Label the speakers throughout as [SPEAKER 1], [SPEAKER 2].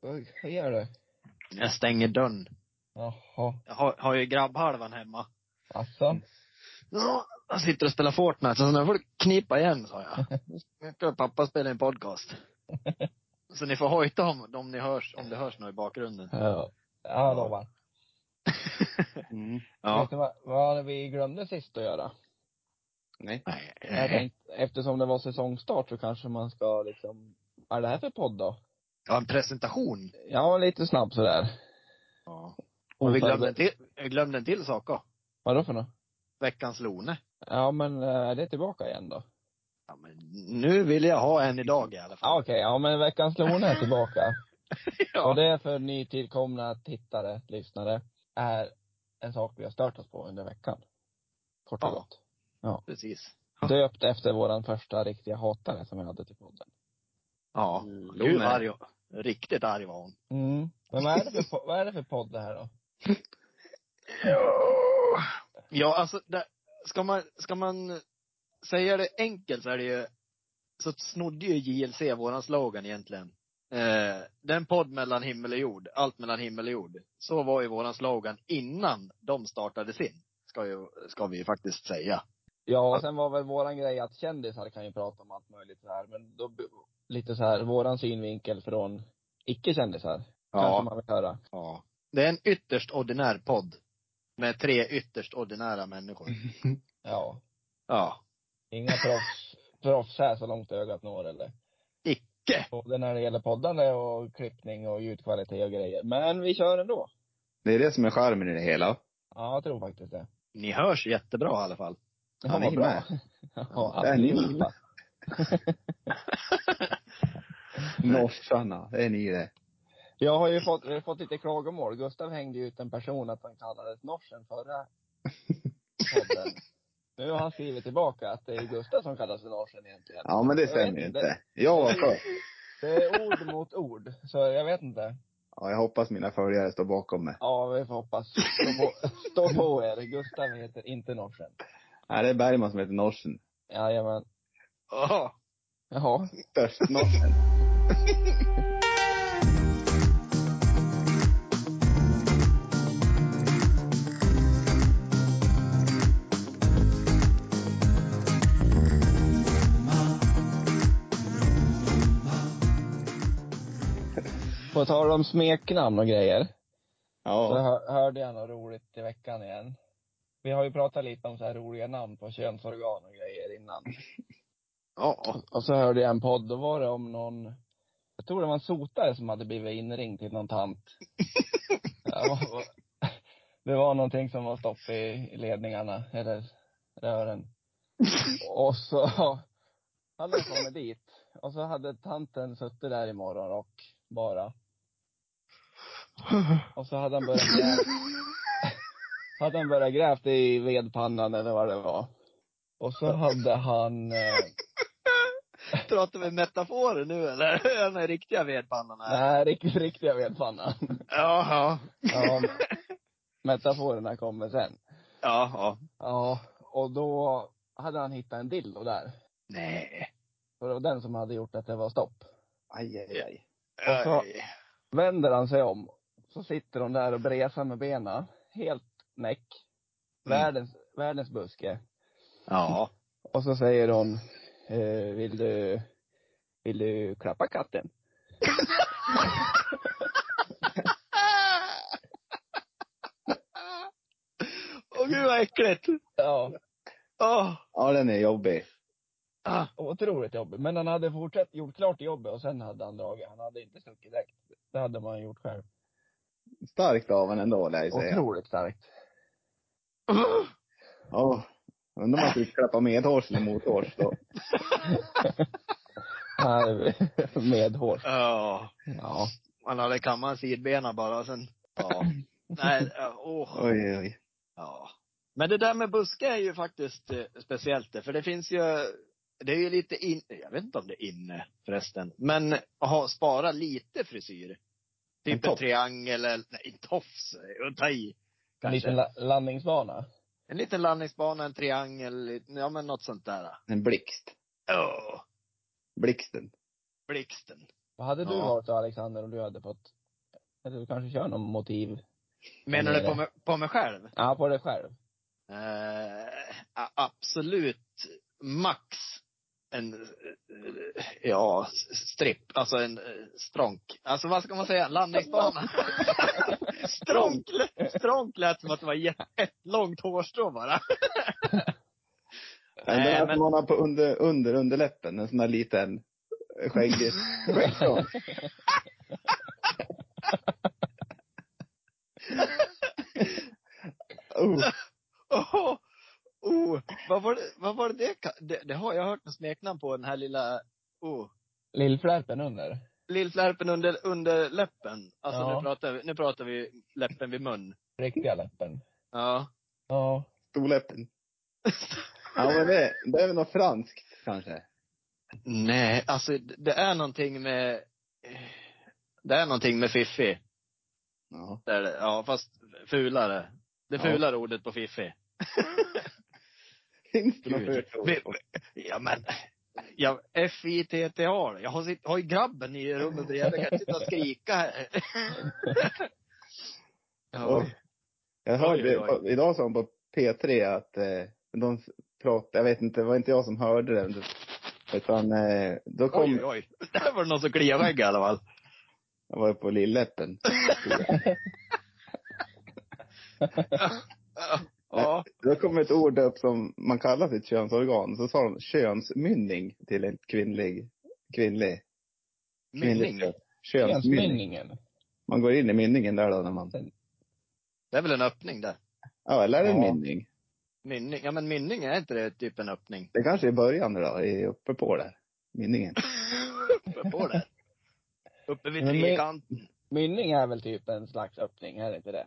[SPEAKER 1] Vad vad gör du?
[SPEAKER 2] Jag stänger dörren.
[SPEAKER 1] Jaha.
[SPEAKER 2] Jag har, har ju grabbhalvan hemma.
[SPEAKER 1] Alltså.
[SPEAKER 2] Ja, Jag sitter och spelar Fortnite, så nu får du knipa igen, sa jag. Nu ska pappa spela en podcast. Så ni får hojta om, om ni hörs, om det hörs något i bakgrunden.
[SPEAKER 1] Ja. Ja, lovar.
[SPEAKER 3] Mm.
[SPEAKER 1] Ja.
[SPEAKER 2] Ja.
[SPEAKER 1] Vet du vad, vad var det vi glömde sist att göra?
[SPEAKER 3] Nej.
[SPEAKER 2] Nej. eh,
[SPEAKER 1] Jag
[SPEAKER 2] nej.
[SPEAKER 1] tänkte, eftersom det var säsongstart så kanske man ska liksom, vad är det här för podd då?
[SPEAKER 2] Ja, en presentation.
[SPEAKER 1] Ja, lite snabb sådär.
[SPEAKER 2] Ja. Och vi glömde en till, vi glömde en till sak också.
[SPEAKER 1] Vadå för något?
[SPEAKER 2] Veckans Lone.
[SPEAKER 1] Ja men eh, är det tillbaka igen då?
[SPEAKER 2] Ja, men nu vill jag ha en idag i alla fall.
[SPEAKER 1] Ja, Okej, ja men veckans Lone är tillbaka.
[SPEAKER 2] Ja.
[SPEAKER 1] Och det för nytillkomna tittare, lyssnare, är en sak vi har stört oss på under veckan. Kort och
[SPEAKER 2] Ja.
[SPEAKER 1] gott.
[SPEAKER 2] Precis.
[SPEAKER 1] Döpt efter våran första riktiga hatare som vi hade till podden.
[SPEAKER 2] Ja.
[SPEAKER 3] Mm.
[SPEAKER 2] Gud
[SPEAKER 3] Lone.
[SPEAKER 2] vad arg, riktigt arg var hon.
[SPEAKER 1] Mm. Men vad är det för, po- vad är det för podd det här då?
[SPEAKER 2] Ja, alltså, där, ska, man, ska man säga det enkelt så är det ju, så snodde ju JLC våran slogan egentligen. Eh, den podd mellan himmel och jord, allt mellan himmel och jord. Så var ju våran slogan innan de startade sin. Ska, ju, ska vi ju faktiskt säga.
[SPEAKER 1] Ja, och sen var väl våran grej att kändisar kan ju prata om allt möjligt så här, men då b- lite så här, våran synvinkel från icke-kändisar. Kanske man vill höra.
[SPEAKER 2] ja. Det är en ytterst ordinär podd. Med tre ytterst ordinära människor.
[SPEAKER 1] Ja.
[SPEAKER 2] Ja.
[SPEAKER 1] Inga proffs, proffs här så långt ögat når eller.
[SPEAKER 2] Icke!
[SPEAKER 1] Både när det gäller poddande och klippning och ljudkvalitet och grejer. Men vi kör ändå.
[SPEAKER 3] Det är det som är charmen i det hela.
[SPEAKER 1] Ja, jag tror faktiskt det.
[SPEAKER 2] Ni hörs jättebra i alla fall.
[SPEAKER 3] Ja, ni är med.
[SPEAKER 1] ja,
[SPEAKER 3] Där är ni
[SPEAKER 1] allihopa.
[SPEAKER 3] Norsarna, det är ni det.
[SPEAKER 1] Jag har ju fått, eh, fått lite klagomål. Gustav hängde ju ut en person att han kallades norsen förra podden. Nu har han skrivit tillbaka att det är Gustav som kallas för norsen egentligen.
[SPEAKER 3] Ja men det
[SPEAKER 1] Jag
[SPEAKER 3] stämmer
[SPEAKER 1] vet
[SPEAKER 3] ju
[SPEAKER 1] inte.
[SPEAKER 3] inte. Jag var först.
[SPEAKER 1] Det är ord mot ord, så jag vet inte.
[SPEAKER 3] Ja, jag hoppas mina följare står bakom mig.
[SPEAKER 1] Ja, vi får hoppas. Stå på, stå på er. Gustav heter inte norsen.
[SPEAKER 3] Nej, det är Bergman som heter Norsen.
[SPEAKER 1] Jajamän.
[SPEAKER 2] Ja.
[SPEAKER 1] Jaha.
[SPEAKER 3] Störst Norsen.
[SPEAKER 1] På tal om smeknamn och grejer. Så
[SPEAKER 3] Ja.
[SPEAKER 1] hör, hörde jag något roligt i veckan igen. Vi har ju pratat lite om så här roliga namn på könsorgan och grejer innan.
[SPEAKER 2] Ja.
[SPEAKER 1] Och så hörde jag en podd, då var det om någon, jag tror det var en sotare som hade blivit inringd till någon tant. Ja, vad- det var någonting som var stopp i ledningarna, eller rören. Och så hade jag kommit dit. Och så hade tanten suttit där i morgonrock, bara. Och så hade han börjat gräva. hade han börjat grävt i vedpannan eller vad det var. Och så hade han eh,
[SPEAKER 2] Pratar vi metaforer nu eller? Den här riktiga vedpannan här.
[SPEAKER 1] Nej, riktigt, riktiga vedpannan.
[SPEAKER 2] Jaha.
[SPEAKER 1] Ja, men- metaforerna kommer sen.
[SPEAKER 2] Jaha.
[SPEAKER 1] Ja, och då hade han hittat en dildo där.
[SPEAKER 2] Nej.
[SPEAKER 1] Så det var den som hade gjort att det var stopp.
[SPEAKER 3] Aj, aj, aj.
[SPEAKER 1] Och så-
[SPEAKER 2] Oj.
[SPEAKER 1] Vänder han sig om, så sitter hon där och bresar med benen. Helt näck. Världens, världens buske.
[SPEAKER 2] Ja.
[SPEAKER 1] Och så säger hon, eh, vill du, vill du klappa katten?
[SPEAKER 2] Åh gud vad äckligt.
[SPEAKER 1] Ja,
[SPEAKER 2] Åh.
[SPEAKER 3] Ja, den är jobbig.
[SPEAKER 2] Ah.
[SPEAKER 1] otroligt jobbigt. Men han hade fortsatt, gjort klart jobbet och sen hade han dragit. Han hade inte stuckit direkt. Det hade man gjort själv.
[SPEAKER 3] Starkt av en ändå, lär jag säga.
[SPEAKER 1] Otroligt starkt.
[SPEAKER 3] Ja. Undrar om man skulle klappa medhårs eller mothårs då.
[SPEAKER 1] Här med hår.
[SPEAKER 2] Ja.
[SPEAKER 1] Ja.
[SPEAKER 2] Man hade kammat sidbena bara och sen. Ja. Nej, ja, åh.
[SPEAKER 3] Oj, oj.
[SPEAKER 2] Ja. Men det där med buske är ju faktiskt eh, speciellt det, för det finns ju, det är ju lite in, jag vet inte om det är inne förresten, men ha, spara lite frisyr.
[SPEAKER 3] En
[SPEAKER 2] Typ en,
[SPEAKER 3] tofs.
[SPEAKER 2] triangel eller, nej, en tofs, eh, och ta i.
[SPEAKER 1] En
[SPEAKER 2] Kanske.
[SPEAKER 1] liten la- landningsbana.
[SPEAKER 2] En liten landningsbana, en triangel, ja men något sånt där.
[SPEAKER 3] En blixt.
[SPEAKER 2] Åh,
[SPEAKER 3] Blixten.
[SPEAKER 2] blixten.
[SPEAKER 1] Vad hade du
[SPEAKER 2] Ja.
[SPEAKER 1] varit då Alexander om du hade fått, eller du kanske kör någon motiv?
[SPEAKER 2] Menar
[SPEAKER 1] Eller-
[SPEAKER 2] du på mig, på mig själv?
[SPEAKER 1] Ja, på dig själv.
[SPEAKER 2] Eh, a- absolut max en, eh, ja, s- stripp. Alltså en eh, strånk. Alltså vad ska man säga? Landningsbana. strånk, strånk lät som att det var jätte- ett långt hårstrå bara.
[SPEAKER 3] Nej,
[SPEAKER 2] Nej,
[SPEAKER 3] den
[SPEAKER 2] men-
[SPEAKER 3] men... man har på under, under underläppen, en sån där liten skäggig skäggstång. oh,
[SPEAKER 2] Åh! oh, vad var det, vad var det, det ka- det? Det har jag hört en smeknamn på, den här lilla, oh.
[SPEAKER 1] Lillflärpen under.
[SPEAKER 2] Lillflärpen under, under läppen. Alltså
[SPEAKER 1] Ja.
[SPEAKER 2] nu, pratar vi, nu pratar vi läppen vid mun.
[SPEAKER 1] Riktiga läppen.
[SPEAKER 2] Ja.
[SPEAKER 1] Ja.
[SPEAKER 3] storläppen. Ja men det, det är väl något franskt kanske.
[SPEAKER 2] Nej, alltså d- det är någonting med, det är någonting med fiffi.
[SPEAKER 3] Ja.
[SPEAKER 2] Där, det- ja, fast fulare. Det
[SPEAKER 3] Ja.
[SPEAKER 2] fulare ordet på fiffi.
[SPEAKER 3] Finns det något
[SPEAKER 2] Gud.
[SPEAKER 3] fult ord?
[SPEAKER 2] Vi- Ja men, ja, F-I-T-T-A. Jag har, sitt, har ju grabben i rummet bredvid. Jag kan sitta och skrika här. ja.
[SPEAKER 3] Oj. Jag hörde,
[SPEAKER 2] Oj, oj,
[SPEAKER 3] idag sa de på P3 att eh, de pratade, jag vet inte, det var inte jag som hörde det. Utan eh, då kom,
[SPEAKER 2] Oj, oj, oj. Där var det någon som kliade vägg i alla fall.
[SPEAKER 3] jag var på Lilläppen.
[SPEAKER 2] Ja.
[SPEAKER 3] Då kom ett ord upp som man kallar sitt könsorgan. Så sa de könsmynning till en kvinnlig, kvinnlig.
[SPEAKER 2] Mynning.
[SPEAKER 3] kvinnligt kön. Könsmynning.
[SPEAKER 1] Könsmynningen.
[SPEAKER 3] Man går in i mynningen där då när man,
[SPEAKER 2] Det är väl en öppning där.
[SPEAKER 3] ja eller är det en
[SPEAKER 1] Ja.
[SPEAKER 3] mynning?
[SPEAKER 2] Mynning. Ja men mynning, är inte det typ en öppning?
[SPEAKER 3] Det kanske är i början då, i- uppe på där. Mynningen.
[SPEAKER 2] Uppe på det. Uppe vid
[SPEAKER 1] Men my-
[SPEAKER 2] trekanten.
[SPEAKER 1] Mynning är väl typ en slags öppning, är det inte det?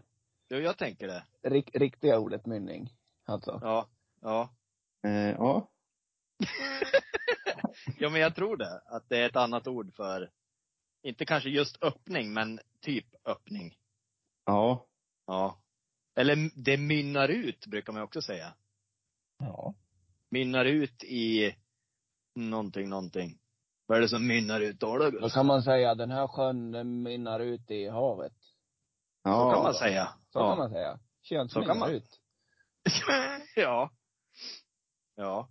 [SPEAKER 2] Jo, jag tänker det.
[SPEAKER 1] Rik, riktiga ordet mynning. Alltså.
[SPEAKER 2] Ja. Ja.
[SPEAKER 3] Eh, ja.
[SPEAKER 2] Ja men jag tror det. Att det är ett annat ord för, inte kanske just öppning, men typ öppning.
[SPEAKER 3] Ja.
[SPEAKER 2] Ja. Eller det mynnar ut, brukar man också säga.
[SPEAKER 1] Ja.
[SPEAKER 2] Mynnar ut i någonting, någonting. Vad är det som mynnar ut då, då
[SPEAKER 1] Då
[SPEAKER 2] Gustav?
[SPEAKER 1] kan man säga, den här sjön den mynnar ut i havet.
[SPEAKER 2] Så kan
[SPEAKER 3] Ja.
[SPEAKER 2] man säga.
[SPEAKER 1] Så
[SPEAKER 2] ja.
[SPEAKER 1] kan man säga.
[SPEAKER 2] Så kan
[SPEAKER 1] Könsmynnar
[SPEAKER 2] man.
[SPEAKER 1] ut.
[SPEAKER 2] ja. Ja.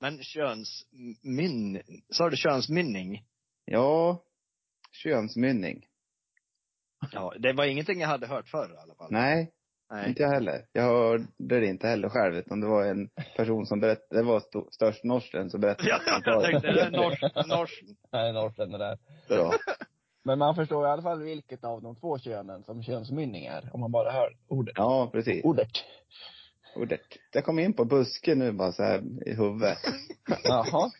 [SPEAKER 2] Men könsmyn... Sa du könsmynning?
[SPEAKER 3] Ja. Könsmynning.
[SPEAKER 2] Ja, det var ingenting jag hade hört förr i alla fall.
[SPEAKER 3] Nej.
[SPEAKER 2] Nej.
[SPEAKER 3] Inte jag heller. Jag hörde det inte heller själv, utan det var en person som berättade, det var sto- störst norsken som berättade.
[SPEAKER 2] Ja, jag tänkte, det är norsk, norsk.
[SPEAKER 1] Nej, Norsen det där.
[SPEAKER 3] Ja.
[SPEAKER 1] Men man förstår i alla fall vilket av de två könen som könsmynning är, om man bara hör ordet.
[SPEAKER 3] ja, precis.
[SPEAKER 1] Ordet.
[SPEAKER 3] Och det, jag kom in på buske nu bara så här i huvudet.
[SPEAKER 1] Jaha.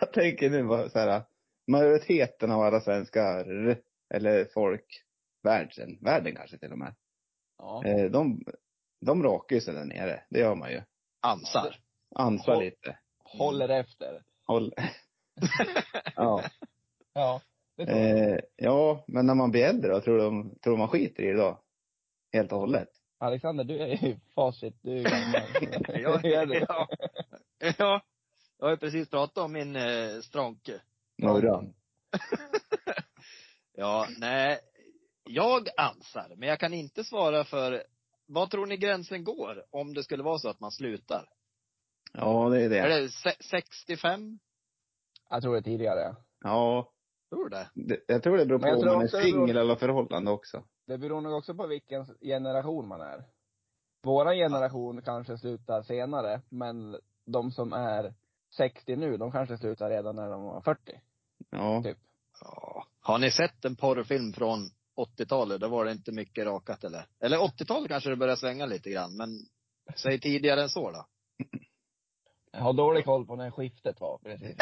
[SPEAKER 3] Jag tänker nu bara så här, majoriteten av alla svenskar, eller folk, världen, världen kanske till och med.
[SPEAKER 1] Ja.
[SPEAKER 3] Eh, De, de rakar ju sig där nere, det gör man ju.
[SPEAKER 2] Ansar.
[SPEAKER 3] Ansar
[SPEAKER 1] Håll-
[SPEAKER 3] lite.
[SPEAKER 1] Håller efter.
[SPEAKER 3] Håll. ja.
[SPEAKER 1] Ja. Det tror jag.
[SPEAKER 3] Eh, ja, men när man blir äldre då, tror de, tror man skiter i det då? Helt och hållet?
[SPEAKER 1] Alexander, du är ju facit. Du är ju gammal.
[SPEAKER 2] Ja,
[SPEAKER 1] Är du?
[SPEAKER 2] ja. ja. Jag har ju precis pratat om min eh, strånke.
[SPEAKER 3] Norran.
[SPEAKER 2] Ja, nej. Jag ansar, men jag kan inte svara för, vad tror ni gränsen går om det skulle vara så att man slutar?
[SPEAKER 3] Ja, det är
[SPEAKER 2] Är
[SPEAKER 3] det.
[SPEAKER 2] det se- 65?
[SPEAKER 1] Jag tror det tidigare.
[SPEAKER 3] Ja,
[SPEAKER 2] Tror du det?
[SPEAKER 3] det, jag tror det beror på
[SPEAKER 1] Men jag
[SPEAKER 3] om
[SPEAKER 1] tror
[SPEAKER 3] man är
[SPEAKER 1] också det beror-
[SPEAKER 3] singel eller förhållande också.
[SPEAKER 1] Det beror nog också på vilken generation man är. Våra generation kanske slutar senare, men de som är 60 nu, de kanske slutar redan när de var 40.
[SPEAKER 3] Ja.
[SPEAKER 1] Typ.
[SPEAKER 2] Ja. Har ni sett en porrfilm från 80-talet? Då var det inte mycket rakat eller? Eller 80-talet kanske det börjar svänga lite grann, men säg tidigare än så då.
[SPEAKER 1] Jag har dålig koll på när skiftet var precis.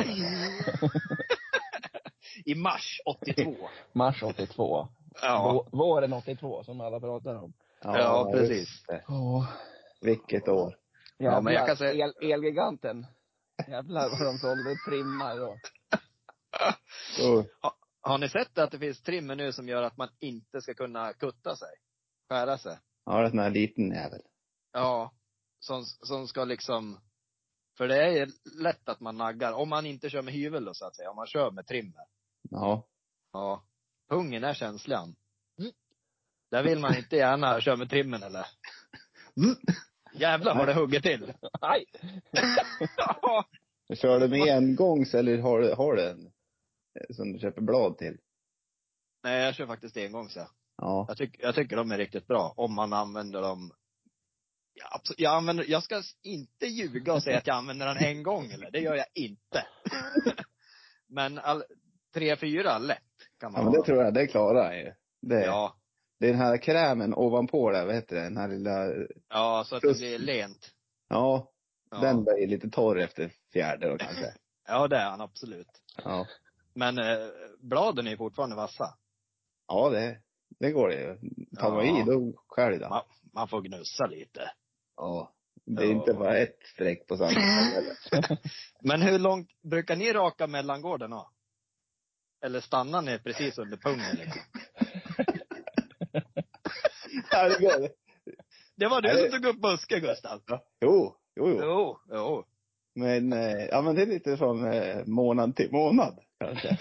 [SPEAKER 2] I mars 82.
[SPEAKER 1] Mars 82.
[SPEAKER 2] Ja.
[SPEAKER 1] Vå- Våren 82, som alla pratar om.
[SPEAKER 2] Ja, precis.
[SPEAKER 3] just det.
[SPEAKER 1] Oh.
[SPEAKER 3] Vilket år.
[SPEAKER 2] Ja, men jag kan säga-
[SPEAKER 1] El, Elgiganten. Jävlar vad de sålde trimmar då.
[SPEAKER 3] Oh.
[SPEAKER 2] Har ni sett att det finns trimmer nu som gör att man inte ska kunna kutta sig? Skära sig?
[SPEAKER 3] Ja, det är sån här liten jävel.
[SPEAKER 2] Ja. Som, som ska liksom, för det är ju lätt att man naggar, om man inte kör med hyvel då så att säga, om man kör med trimmer.
[SPEAKER 3] Ja.
[SPEAKER 2] Ja. Pungen är känslan. Där vill man inte gärna köra med trimmen eller? Jävlar vad det hugger till.
[SPEAKER 1] Aj!
[SPEAKER 3] Kör du med engångs eller har du, har du en eh, som du köper blad till?
[SPEAKER 2] Nej, jag kör faktiskt engångs ja.
[SPEAKER 3] Ja.
[SPEAKER 2] Jag, tyck, jag tycker de är riktigt bra, om man använder dem. Ja, abso- jag, använder, jag ska s- inte ljuga och säga att jag använder den en gång, eller? Det gör jag inte. Men all, tre, fyra, lätt kan man
[SPEAKER 3] Ja men det
[SPEAKER 2] ha.
[SPEAKER 3] tror jag, det klarar han ju. Det,
[SPEAKER 2] Ja,
[SPEAKER 3] det är den här krämen ovanpå där, vad heter det, den här lilla,
[SPEAKER 2] ja, så att det blir lent.
[SPEAKER 3] ja,
[SPEAKER 2] Ja,
[SPEAKER 3] den blir lite torr efter fjärde då kanske.
[SPEAKER 2] ja det är han absolut.
[SPEAKER 3] Ja.
[SPEAKER 2] Men eh, bladen är ju fortfarande vassa.
[SPEAKER 3] Ja det, det går det ju. Tar man
[SPEAKER 2] Ja.
[SPEAKER 3] i då skär det.
[SPEAKER 2] Man, man får gnussa lite.
[SPEAKER 3] Ja. Det är
[SPEAKER 2] Ja.
[SPEAKER 3] inte bara ett streck på samma ställe. eller?
[SPEAKER 2] Men hur långt brukar ni raka mellangården då? Eller stannar ni precis under pungen liksom?
[SPEAKER 3] Ja, det går det.
[SPEAKER 2] Det var
[SPEAKER 3] Nej,
[SPEAKER 2] du
[SPEAKER 3] det-
[SPEAKER 2] som tog upp buske Gustav.
[SPEAKER 3] Jo, jo, jo.
[SPEAKER 2] Jo, jo.
[SPEAKER 3] Men, eh, ja men det är lite från eh, månad till månad kanske.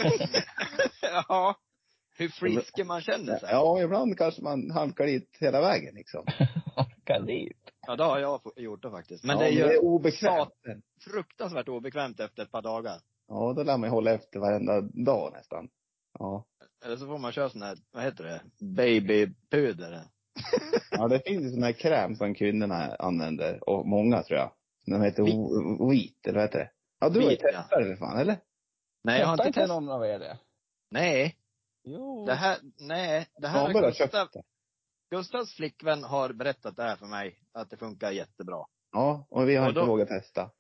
[SPEAKER 2] Ja. Hur frisk man känner sig.
[SPEAKER 3] Ja, ibland kanske man halkar dit hela vägen liksom.
[SPEAKER 1] Kan dit.
[SPEAKER 2] Ja, det har jag fo- gjort det faktiskt. Men
[SPEAKER 3] ja,
[SPEAKER 2] det är
[SPEAKER 3] men det
[SPEAKER 2] ju
[SPEAKER 3] är obekvämt.
[SPEAKER 2] fruktansvärt obekvämt efter ett par dagar.
[SPEAKER 3] Ja, då lär man ju hålla efter varenda dag nästan. Ja.
[SPEAKER 2] Eller så får man köra sån här, vad heter det, babypuder.
[SPEAKER 3] Ja, det finns ju sån här kräm som kvinnorna använder, och många tror jag. Den heter o- Wheat, eller vad heter det? Ja, du har ju
[SPEAKER 2] Wheat, ja.
[SPEAKER 3] testat det för fan, eller?
[SPEAKER 2] Nej, jag har inte testat.
[SPEAKER 1] någon av er det?
[SPEAKER 2] Nej,
[SPEAKER 1] Jo.
[SPEAKER 2] det här, nej, det här
[SPEAKER 3] Samuel
[SPEAKER 2] har
[SPEAKER 3] har köpt
[SPEAKER 2] Gustav,
[SPEAKER 3] det.
[SPEAKER 2] Gustavs flickvän har berättat det här för mig, att det funkar jättebra.
[SPEAKER 3] Ja, och vi har
[SPEAKER 2] Och
[SPEAKER 3] inte
[SPEAKER 2] då-
[SPEAKER 3] vågat testa.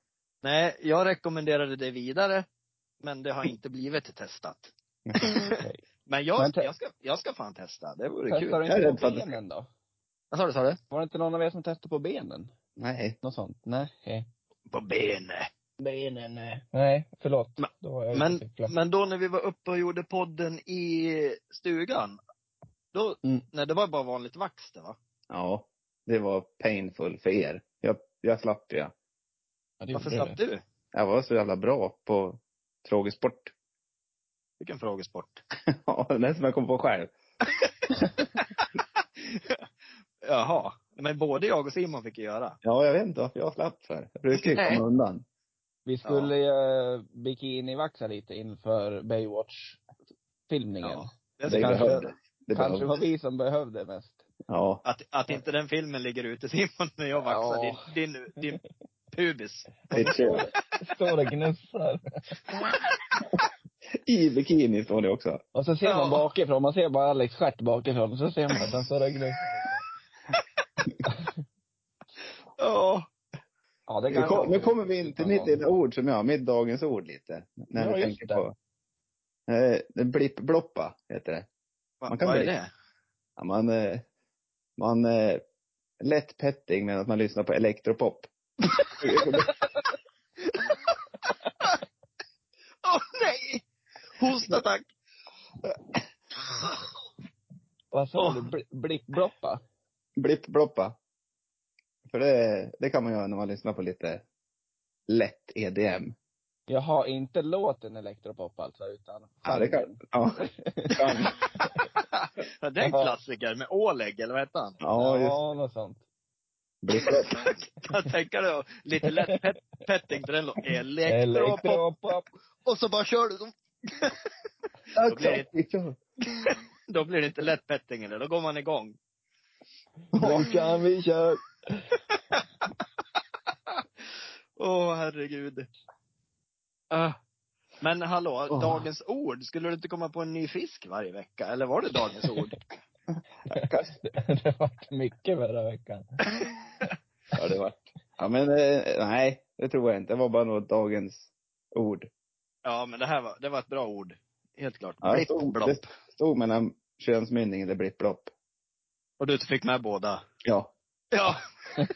[SPEAKER 2] Nej, jag rekommenderade det vidare, men det har inte blivit testat.
[SPEAKER 1] Okej.
[SPEAKER 2] Men jag,
[SPEAKER 1] Men te-
[SPEAKER 2] jag, ska, jag ska fan testa, det vore
[SPEAKER 1] Testar
[SPEAKER 2] kul.
[SPEAKER 3] Jag är
[SPEAKER 1] du
[SPEAKER 3] rädd
[SPEAKER 1] inte
[SPEAKER 3] för
[SPEAKER 1] på
[SPEAKER 3] att det-
[SPEAKER 1] benen då?
[SPEAKER 2] Vad sa du, sa du?
[SPEAKER 1] Var det inte någon av er som testade på benen?
[SPEAKER 3] Nej.
[SPEAKER 1] Något sånt? Nej. okej.
[SPEAKER 2] På benet.
[SPEAKER 1] Benen, nej. Nej, förlåt.
[SPEAKER 2] Men-
[SPEAKER 1] Då var jag ute
[SPEAKER 2] Men,
[SPEAKER 1] och cyklade.
[SPEAKER 2] men då när vi var uppe och gjorde podden i stugan, då,
[SPEAKER 1] Mm.
[SPEAKER 2] nej det var bara vanligt vax det va?
[SPEAKER 3] Ja, det var painful för er. Jag, jag slapp ju.
[SPEAKER 1] Ja, det
[SPEAKER 2] Varför
[SPEAKER 1] gjorde
[SPEAKER 2] slapp du?
[SPEAKER 3] Jag var så jävla bra på frågesport.
[SPEAKER 2] Vilken frågesport.
[SPEAKER 3] Ja, det är den som jag kom på själv.
[SPEAKER 2] Jaha. Men både jag och Simon fick ju göra.
[SPEAKER 3] Ja, jag vet inte varför jag slapp för. Jag brukar ju
[SPEAKER 2] Nej.
[SPEAKER 3] komma undan.
[SPEAKER 1] Vi skulle ja. bikinivaxa lite inför Baywatch-filmningen.
[SPEAKER 2] Ja,
[SPEAKER 3] Det
[SPEAKER 2] Det ska
[SPEAKER 1] kanske-
[SPEAKER 2] kanske,
[SPEAKER 3] Det
[SPEAKER 1] Kanske
[SPEAKER 3] var...
[SPEAKER 1] var vi som behövde mest.
[SPEAKER 3] Ja.
[SPEAKER 2] att, att inte den filmen ligger ute Simon, när jag vaxar
[SPEAKER 1] Ja.
[SPEAKER 2] din, din, din pubis.
[SPEAKER 3] Det är kul.
[SPEAKER 1] Står och gnussar.
[SPEAKER 3] I bikini står det också.
[SPEAKER 1] Och så ser
[SPEAKER 2] Ja.
[SPEAKER 1] man bakifrån, man ser bara Alex stjärt bakifrån, och så ser man att han står och gnussar.
[SPEAKER 2] Ja.
[SPEAKER 1] Ja, det
[SPEAKER 3] Nu,
[SPEAKER 1] kanske
[SPEAKER 3] kom, nu kommer vi in till mitt lilla ord som jag, mitt dagens ord lite. När
[SPEAKER 1] Ja,
[SPEAKER 3] jag
[SPEAKER 1] just det.
[SPEAKER 3] tänker på. Eh, blipp-bloppa heter det.
[SPEAKER 2] Va-
[SPEAKER 3] Man kan
[SPEAKER 2] vad är
[SPEAKER 3] bli-
[SPEAKER 2] det?
[SPEAKER 3] Ja, man, eh, man eh, lätt petting medan man lyssnar på elektropop.
[SPEAKER 2] Åh nej! Hostattack!
[SPEAKER 1] Vad sa
[SPEAKER 2] Åh.
[SPEAKER 1] du? Bli- Blippbloppa?
[SPEAKER 3] blipp-bloppa. För det, det kan man göra när man lyssnar på lite lätt E EDM.
[SPEAKER 1] Jag har inte låten elektropop alltså, utan
[SPEAKER 3] Ja, det kan,
[SPEAKER 1] genren.
[SPEAKER 3] ja. Kan-
[SPEAKER 2] Ja, det är en klassiker med Oleg, eller vad heter han?
[SPEAKER 3] ja, just
[SPEAKER 1] Ja, något sånt.
[SPEAKER 3] blipp-blopp.
[SPEAKER 2] Kan jag tänka dig att lite lätt pet, petting till den låten. Elektropop.
[SPEAKER 1] Elektropop.
[SPEAKER 2] Och så bara kör du. Då blir Då blir det inte lätt petting eller då går man igång.
[SPEAKER 1] Nu kan vi köra.
[SPEAKER 2] Åh herregud. Ah. Men hallå,
[SPEAKER 3] Åh.
[SPEAKER 2] dagens ord. Skulle du inte komma på en ny fisk varje vecka? Eller var det dagens ord?
[SPEAKER 1] Det vart mycket förra veckan.
[SPEAKER 3] Ja, det var. Ja, men eh, nej, det tror jag inte. Det var bara något dagens ord.
[SPEAKER 2] Ja, men det här var, det var ett bra ord. Helt klart.
[SPEAKER 3] Ja, det
[SPEAKER 2] Blipp,
[SPEAKER 3] stod,
[SPEAKER 2] blopp.
[SPEAKER 3] det stod mellan könsmynning eller blipplopp.
[SPEAKER 2] Och du fick med båda?
[SPEAKER 3] Ja.
[SPEAKER 2] Ja.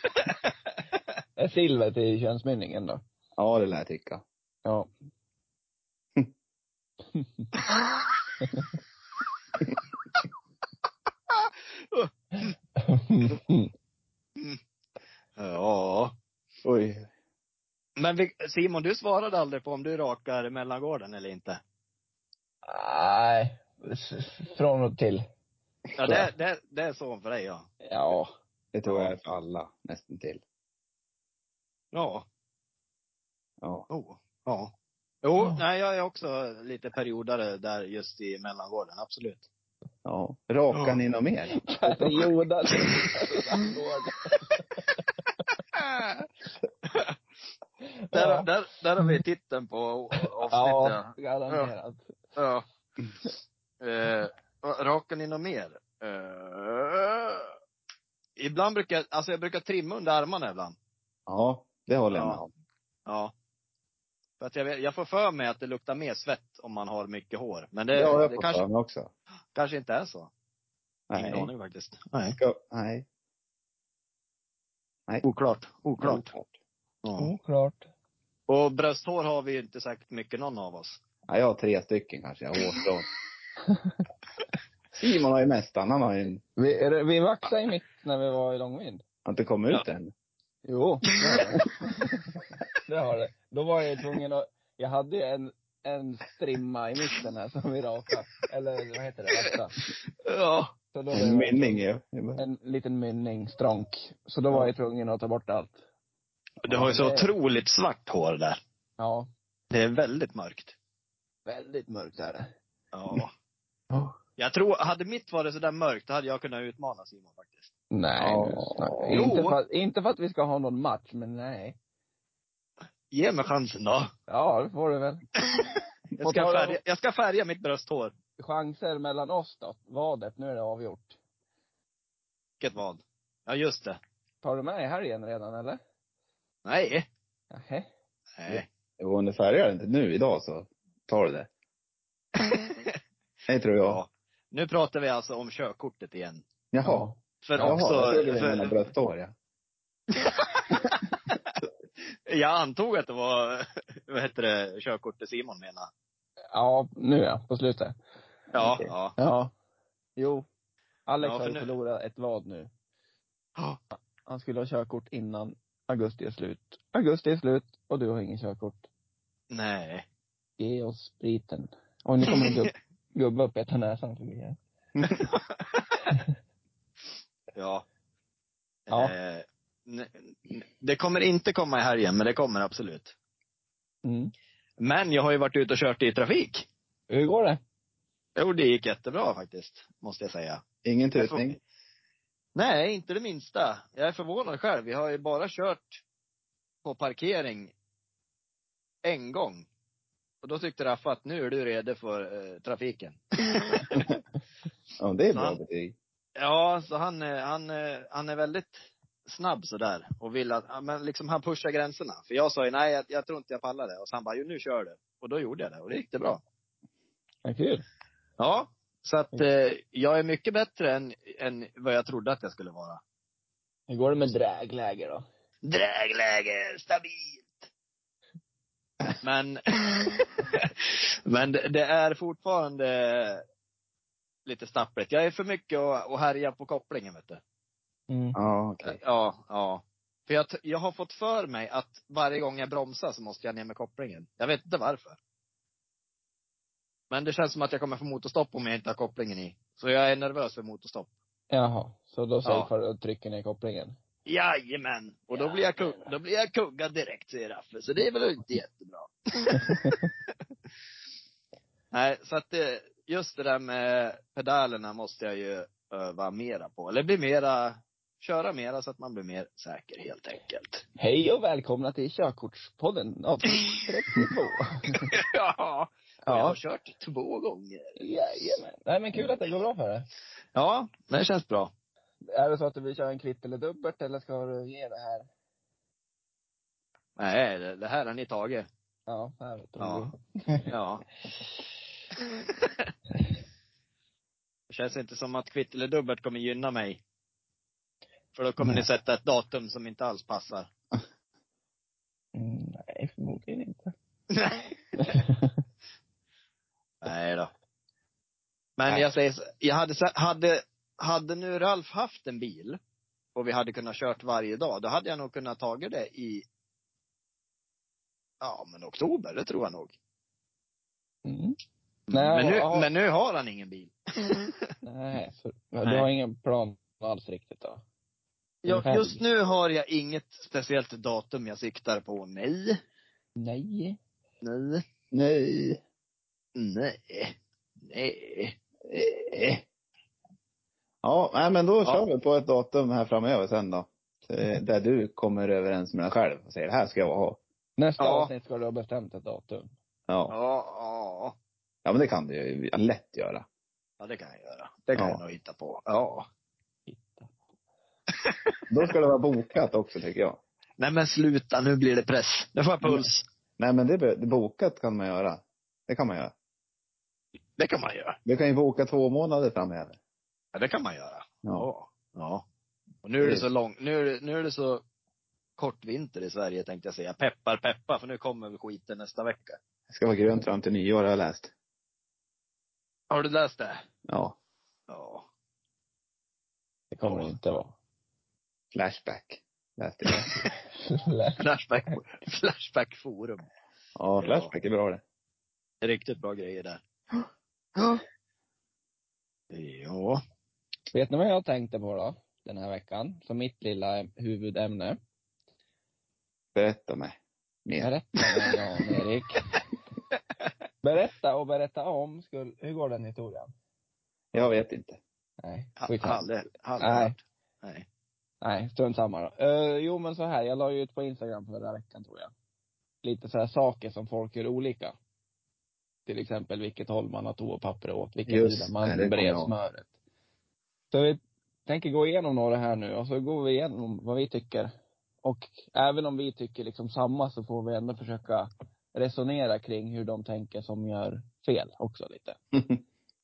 [SPEAKER 1] Är silver till könsmynningen då?
[SPEAKER 3] Ja, det lär jag tycka.
[SPEAKER 1] Ja.
[SPEAKER 2] ja.
[SPEAKER 3] Oj.
[SPEAKER 2] Men vi, Simon, du svarade aldrig på om du rakar mellangården eller inte.
[SPEAKER 1] Nej, s- från och till.
[SPEAKER 2] Ja, det, är- det, är- det är så för dig ja.
[SPEAKER 1] Ja.
[SPEAKER 3] Det tror jag
[SPEAKER 1] Ja.
[SPEAKER 3] är för alla nästan till.
[SPEAKER 2] Ja.
[SPEAKER 3] Ja.
[SPEAKER 2] Oh, ja. Jo,
[SPEAKER 1] Ja.
[SPEAKER 2] nej jag är också lite periodare där just i mellangården, absolut.
[SPEAKER 3] ja. Rakar
[SPEAKER 2] Ja.
[SPEAKER 3] ni något mer?
[SPEAKER 1] Perioder.
[SPEAKER 2] Där,
[SPEAKER 1] Ja. Mm.
[SPEAKER 2] där, där har vi titeln på avsnittet.
[SPEAKER 1] ja, garanterat.
[SPEAKER 2] Ja. Eh, rakar ni något mer? Eh, ibland brukar jag, alltså jag brukar trimma under armarna ibland.
[SPEAKER 3] Ja, det håller jag
[SPEAKER 2] Ja.
[SPEAKER 3] med om.
[SPEAKER 2] Ja. För att jag, vet, jag får för mig att det luktar mer svett om man har mycket hår. Men det,
[SPEAKER 3] Det har jag
[SPEAKER 2] det
[SPEAKER 3] fått
[SPEAKER 2] kanske,
[SPEAKER 3] för mig också.
[SPEAKER 2] kanske inte är så.
[SPEAKER 3] Nej.
[SPEAKER 2] Ingen aning faktiskt. Nej.
[SPEAKER 3] Ska, nej.
[SPEAKER 2] Oklart. Oklart. Mm. Ja.
[SPEAKER 1] Oklart.
[SPEAKER 2] Och brösthår har vi ju inte säkert mycket någon av oss.
[SPEAKER 3] Ja, jag har tre stycken kanske. Jag har hårstrån. Simon har ju mest. Han har ju en-
[SPEAKER 1] Vi, är det- vi vaxade i mitt när vi var i Långvind.
[SPEAKER 3] har inte kommit ut än.
[SPEAKER 1] Jo, det har det. det har det. Då var jag ju tvungen att, jag hade ju en, en strimma i mitten här som vi rakade. Eller vad heter det? Vaxade.
[SPEAKER 2] Ja.
[SPEAKER 1] Så då var
[SPEAKER 3] En
[SPEAKER 1] jag-
[SPEAKER 3] mynning ju.
[SPEAKER 1] En liten mynning, strånk. Så då var jag tvungen att ta bort allt.
[SPEAKER 2] Du har ju så
[SPEAKER 1] Ja, det-
[SPEAKER 2] otroligt svart hår där.
[SPEAKER 1] Ja.
[SPEAKER 2] Det är väldigt mörkt.
[SPEAKER 1] Väldigt mörkt är det.
[SPEAKER 2] Ja.
[SPEAKER 1] Ja.
[SPEAKER 2] Jag tror, hade mitt varit sådär mörkt, då hade jag kunnat utmana Simon faktiskt.
[SPEAKER 1] Nej,
[SPEAKER 3] Ja.
[SPEAKER 1] nu snackar vi.
[SPEAKER 2] Jo.
[SPEAKER 1] Inte för, att- inte för att vi ska ha någon match, men nej.
[SPEAKER 2] Ge mig chansen då.
[SPEAKER 1] Ja, det får du väl.
[SPEAKER 2] Jag
[SPEAKER 1] Vad
[SPEAKER 2] ska
[SPEAKER 1] tar du?
[SPEAKER 2] färga, jag ska färga mitt brösthår.
[SPEAKER 1] Chanser mellan oss då? Vadet, nu är det avgjort.
[SPEAKER 2] Vilket vad? Ja, just det.
[SPEAKER 1] Tar du med i helgen redan eller?
[SPEAKER 2] Nej.
[SPEAKER 1] Nähä.
[SPEAKER 2] Nej.
[SPEAKER 3] Jo, om du färgar inte nu idag så tar du det. Det tror jag.
[SPEAKER 2] Ja. Nu pratar vi alltså om körkortet igen.
[SPEAKER 3] Jaha.
[SPEAKER 2] För
[SPEAKER 3] Jaha,
[SPEAKER 2] också,
[SPEAKER 3] jag trodde det var mina
[SPEAKER 2] för,
[SPEAKER 3] brösthår ja.
[SPEAKER 2] jag antog att det var, vad heter det, körkortet Simon menar.
[SPEAKER 1] Ja, nu ja, på slutet.
[SPEAKER 2] Ja,
[SPEAKER 3] Okej.
[SPEAKER 2] ja.
[SPEAKER 1] Ja. Jo. Alex
[SPEAKER 2] Ja, för
[SPEAKER 1] har ju
[SPEAKER 2] nu-
[SPEAKER 1] förlorat ett vad nu.
[SPEAKER 2] Ja.
[SPEAKER 1] Han skulle ha körkort innan augusti är slut. Augusti är slut och du har ingen körkort.
[SPEAKER 2] Nej.
[SPEAKER 1] Ge oss spriten. Och nu kommer en gubb, gubbe upp i näsan förbi här.
[SPEAKER 2] Ja.
[SPEAKER 1] Ja.
[SPEAKER 2] Eh, n- n- det kommer inte komma i helgen, men det kommer absolut.
[SPEAKER 1] Mm.
[SPEAKER 2] Men jag har ju varit ute och kört i trafik.
[SPEAKER 1] Hur går det?
[SPEAKER 2] Jo, det gick jättebra faktiskt, måste jag säga.
[SPEAKER 3] Ingen
[SPEAKER 2] Jag får-
[SPEAKER 3] tutning.
[SPEAKER 2] Nej, inte det minsta. Jag är förvånad själv. Vi har ju bara kört på parkering en gång. Och då tyckte Raffa att nu är du redo för eh, trafiken.
[SPEAKER 3] Ja, det är bra
[SPEAKER 2] Ja.
[SPEAKER 3] betyg.
[SPEAKER 2] Ja, så han, eh, han, eh, han är väldigt snabb sådär. Och vill att, ja, men liksom han pushar gränserna. För jag sa ju nej, jag, jag tror inte jag pallar det. Och så han bara, jo nu kör du. Och då gjorde jag det och det gick det bra.
[SPEAKER 1] Ja, kul.
[SPEAKER 2] Ja. Så att eh, jag är mycket bättre än, än vad jag trodde att jag skulle vara.
[SPEAKER 1] Hur går det med drägläge då?
[SPEAKER 2] Drägläge, stabilt. Men, men det det är fortfarande lite stappligt. Jag är för mycket och, och härja på kopplingen vet du.
[SPEAKER 1] Mm.
[SPEAKER 3] Ja, okej.
[SPEAKER 2] Eh, Ja, ja. För jag, t- jag har fått för mig att varje gång jag bromsar så måste jag ner med kopplingen. Jag vet inte varför. Men det känns som att jag kommer få motorstopp om jag inte har kopplingen i. Så jag är nervös för motorstopp.
[SPEAKER 1] Jaha, så då
[SPEAKER 2] Ja.
[SPEAKER 1] safear du och trycker ner kopplingen?
[SPEAKER 2] Jajamän! Och då blir jag, ku- då blir jag kuggad direkt säger Raffe, så det är väl inte jättebra. Nej, så att det, just det där med pedalerna måste jag ju öva mera på. Eller bli mera, köra mera så att man blir mer säker helt enkelt.
[SPEAKER 1] Hej och välkomna till Körkortspodden avsnitt 32.
[SPEAKER 2] ja, och jag har
[SPEAKER 1] ja,
[SPEAKER 2] kört två gånger.
[SPEAKER 1] jajamän. Nej men kul att det går bra för dig.
[SPEAKER 2] Ja, det känns bra.
[SPEAKER 1] Är det så att du vill köra en kvitt eller dubbelt eller ska du ge det här?
[SPEAKER 2] Nej, det, det här har ni tagit.
[SPEAKER 1] Ja, här vet du.
[SPEAKER 2] Ja. Ja. Det känns inte som att kvitt eller dubbelt kommer gynna mig. För då kommer
[SPEAKER 3] Nej.
[SPEAKER 2] ni sätta ett datum som inte alls passar.
[SPEAKER 1] Mm, nej, förmodligen inte.
[SPEAKER 2] Nej då. Men
[SPEAKER 3] Nej.
[SPEAKER 2] jag säger så- jag hade, sä- hade, hade nu Ralf haft en bil och vi hade kunnat kört varje dag, då hade jag nog kunnat tagit det i, ja men oktober, det tror jag nog.
[SPEAKER 1] Mm. Nej,
[SPEAKER 2] men, nu,
[SPEAKER 1] ja.
[SPEAKER 2] men nu har han ingen bil.
[SPEAKER 1] Nej, så, du
[SPEAKER 2] Nej.
[SPEAKER 1] har ingen plan alls riktigt då?
[SPEAKER 2] Ja,
[SPEAKER 1] Ungefär.
[SPEAKER 2] just nu har jag inget speciellt datum jag siktar på. Nej.
[SPEAKER 1] Nej.
[SPEAKER 2] Nej.
[SPEAKER 3] Nej.
[SPEAKER 2] Nej. Nej.
[SPEAKER 3] Eh. Ja, nej, men då
[SPEAKER 2] Ja.
[SPEAKER 3] kör vi på ett datum här framöver sen då. Eh, Där du kommer överens med dig själv och säger det här ska jag ha.
[SPEAKER 1] Nästa
[SPEAKER 2] Ja.
[SPEAKER 1] avsnitt ska du ha bestämt ett datum.
[SPEAKER 3] Ja.
[SPEAKER 2] Ja, ja.
[SPEAKER 3] ja, men det kan du ju lätt göra.
[SPEAKER 2] Ja, det kan jag göra. Det kan
[SPEAKER 3] Ja.
[SPEAKER 2] jag nog hitta på. Ja.
[SPEAKER 3] Då ska det vara bokat också tycker jag.
[SPEAKER 2] Nej men sluta, nu blir det press. Nu får jag
[SPEAKER 3] Mm.
[SPEAKER 2] puls.
[SPEAKER 3] Nej, men det, be- det bokat kan man göra. Det kan man göra.
[SPEAKER 2] Det kan man göra.
[SPEAKER 3] Du kan ju boka två månader framöver.
[SPEAKER 2] Ja, det kan man göra.
[SPEAKER 3] Ja.
[SPEAKER 2] Ja. Och nu är det så lång, nu är det, nu är det så kort vinter i Sverige tänkte jag säga. Peppar, peppar, för nu kommer väl skiten nästa vecka.
[SPEAKER 3] Det ska vara grönt fram till nyår har jag läst.
[SPEAKER 2] Har du läst det?
[SPEAKER 3] Ja.
[SPEAKER 2] Ja.
[SPEAKER 1] Det kommer
[SPEAKER 2] Ja.
[SPEAKER 1] det inte vara.
[SPEAKER 3] Flashback. Läste jag.
[SPEAKER 2] Flashback, flashback forum.
[SPEAKER 3] Ja, Flashback är bra det.
[SPEAKER 2] Det är Riktigt bra grejer där. Ja. Ja.
[SPEAKER 1] Vet ni vad jag tänkte på då? Den här veckan. Som mitt lilla huvudämne.
[SPEAKER 3] Berätta mig. Mer.
[SPEAKER 1] Berätta om Jan Erik. Berätta och berätta om. Skulle, hur går den historien?
[SPEAKER 3] Jag vet inte.
[SPEAKER 1] Nej,
[SPEAKER 2] Ha-
[SPEAKER 1] skitsamma.
[SPEAKER 2] Aldrig, aldrig
[SPEAKER 1] Nej.
[SPEAKER 2] hört. Nej.
[SPEAKER 1] Nej, strunt samma då. Eh, jo men så här, jag la ju ut på Instagram förra veckan tror jag. Lite så här saker som folk gör olika. Till exempel vilket håll man har toapapper åt, vilken
[SPEAKER 3] Just
[SPEAKER 1] sida
[SPEAKER 3] det, det
[SPEAKER 1] man
[SPEAKER 3] kommer jag
[SPEAKER 1] bred
[SPEAKER 3] ihåg.
[SPEAKER 1] smöret. Så vi tänker gå igenom några här nu och så går vi igenom vad vi tycker. Och även om vi tycker liksom samma så får vi ändå försöka resonera kring hur de tänker som gör fel också lite.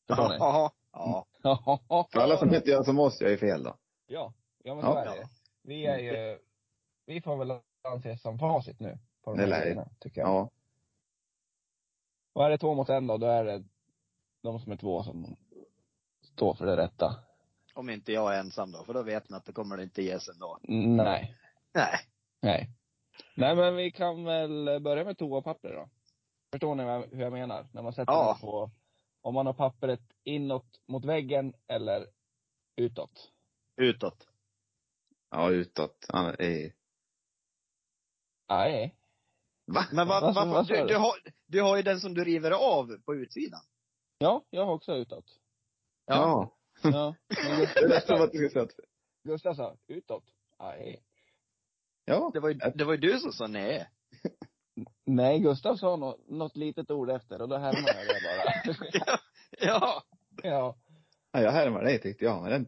[SPEAKER 1] Förstår ni?
[SPEAKER 2] Ja. Ja.
[SPEAKER 1] Mm.
[SPEAKER 3] För alla som inte gör som oss gör ju fel då.
[SPEAKER 1] Ja, ja men så
[SPEAKER 3] Ja.
[SPEAKER 1] är det. Vi är ju, vi får väl anses som facit nu. På de
[SPEAKER 3] Det
[SPEAKER 1] här
[SPEAKER 3] lär vi.
[SPEAKER 1] grejerna, tycker jag.
[SPEAKER 3] Ja.
[SPEAKER 1] Och är det två mot en då, då är det de som är två som står för det rätta.
[SPEAKER 2] Om inte jag är ensam då, för då vet man att det kommer det inte ges ändå.
[SPEAKER 1] Nej.
[SPEAKER 2] Nej.
[SPEAKER 1] Nej. Nej men vi kan väl börja med toapapper då. Förstår ni vad- hur jag menar? När man sätter
[SPEAKER 2] Ja.
[SPEAKER 1] den på, om man har pappret inåt mot väggen eller utåt.
[SPEAKER 2] Utåt.
[SPEAKER 3] Ja, utåt. Ja, eh.
[SPEAKER 1] Nej.
[SPEAKER 3] Va?
[SPEAKER 2] Men vad,
[SPEAKER 1] Vad-
[SPEAKER 2] vad,
[SPEAKER 1] vad sa
[SPEAKER 2] du,
[SPEAKER 1] du?
[SPEAKER 2] du, har, du har ju den som du river av på utsidan.
[SPEAKER 1] Ja, jag har också utåt.
[SPEAKER 3] Ja.
[SPEAKER 1] Ja. Men Gust-
[SPEAKER 3] Det lät som att du skulle säga att...
[SPEAKER 1] Gustav sa utåt. Nej.
[SPEAKER 3] Ja.
[SPEAKER 2] Det var ju, det var ju du som sa nej.
[SPEAKER 1] Nej, Gustav sa något, något litet ord efter och då härmade jag det bara.
[SPEAKER 2] Ja.
[SPEAKER 1] ja.
[SPEAKER 3] ja jag härmar dig tyckte jag. Men den...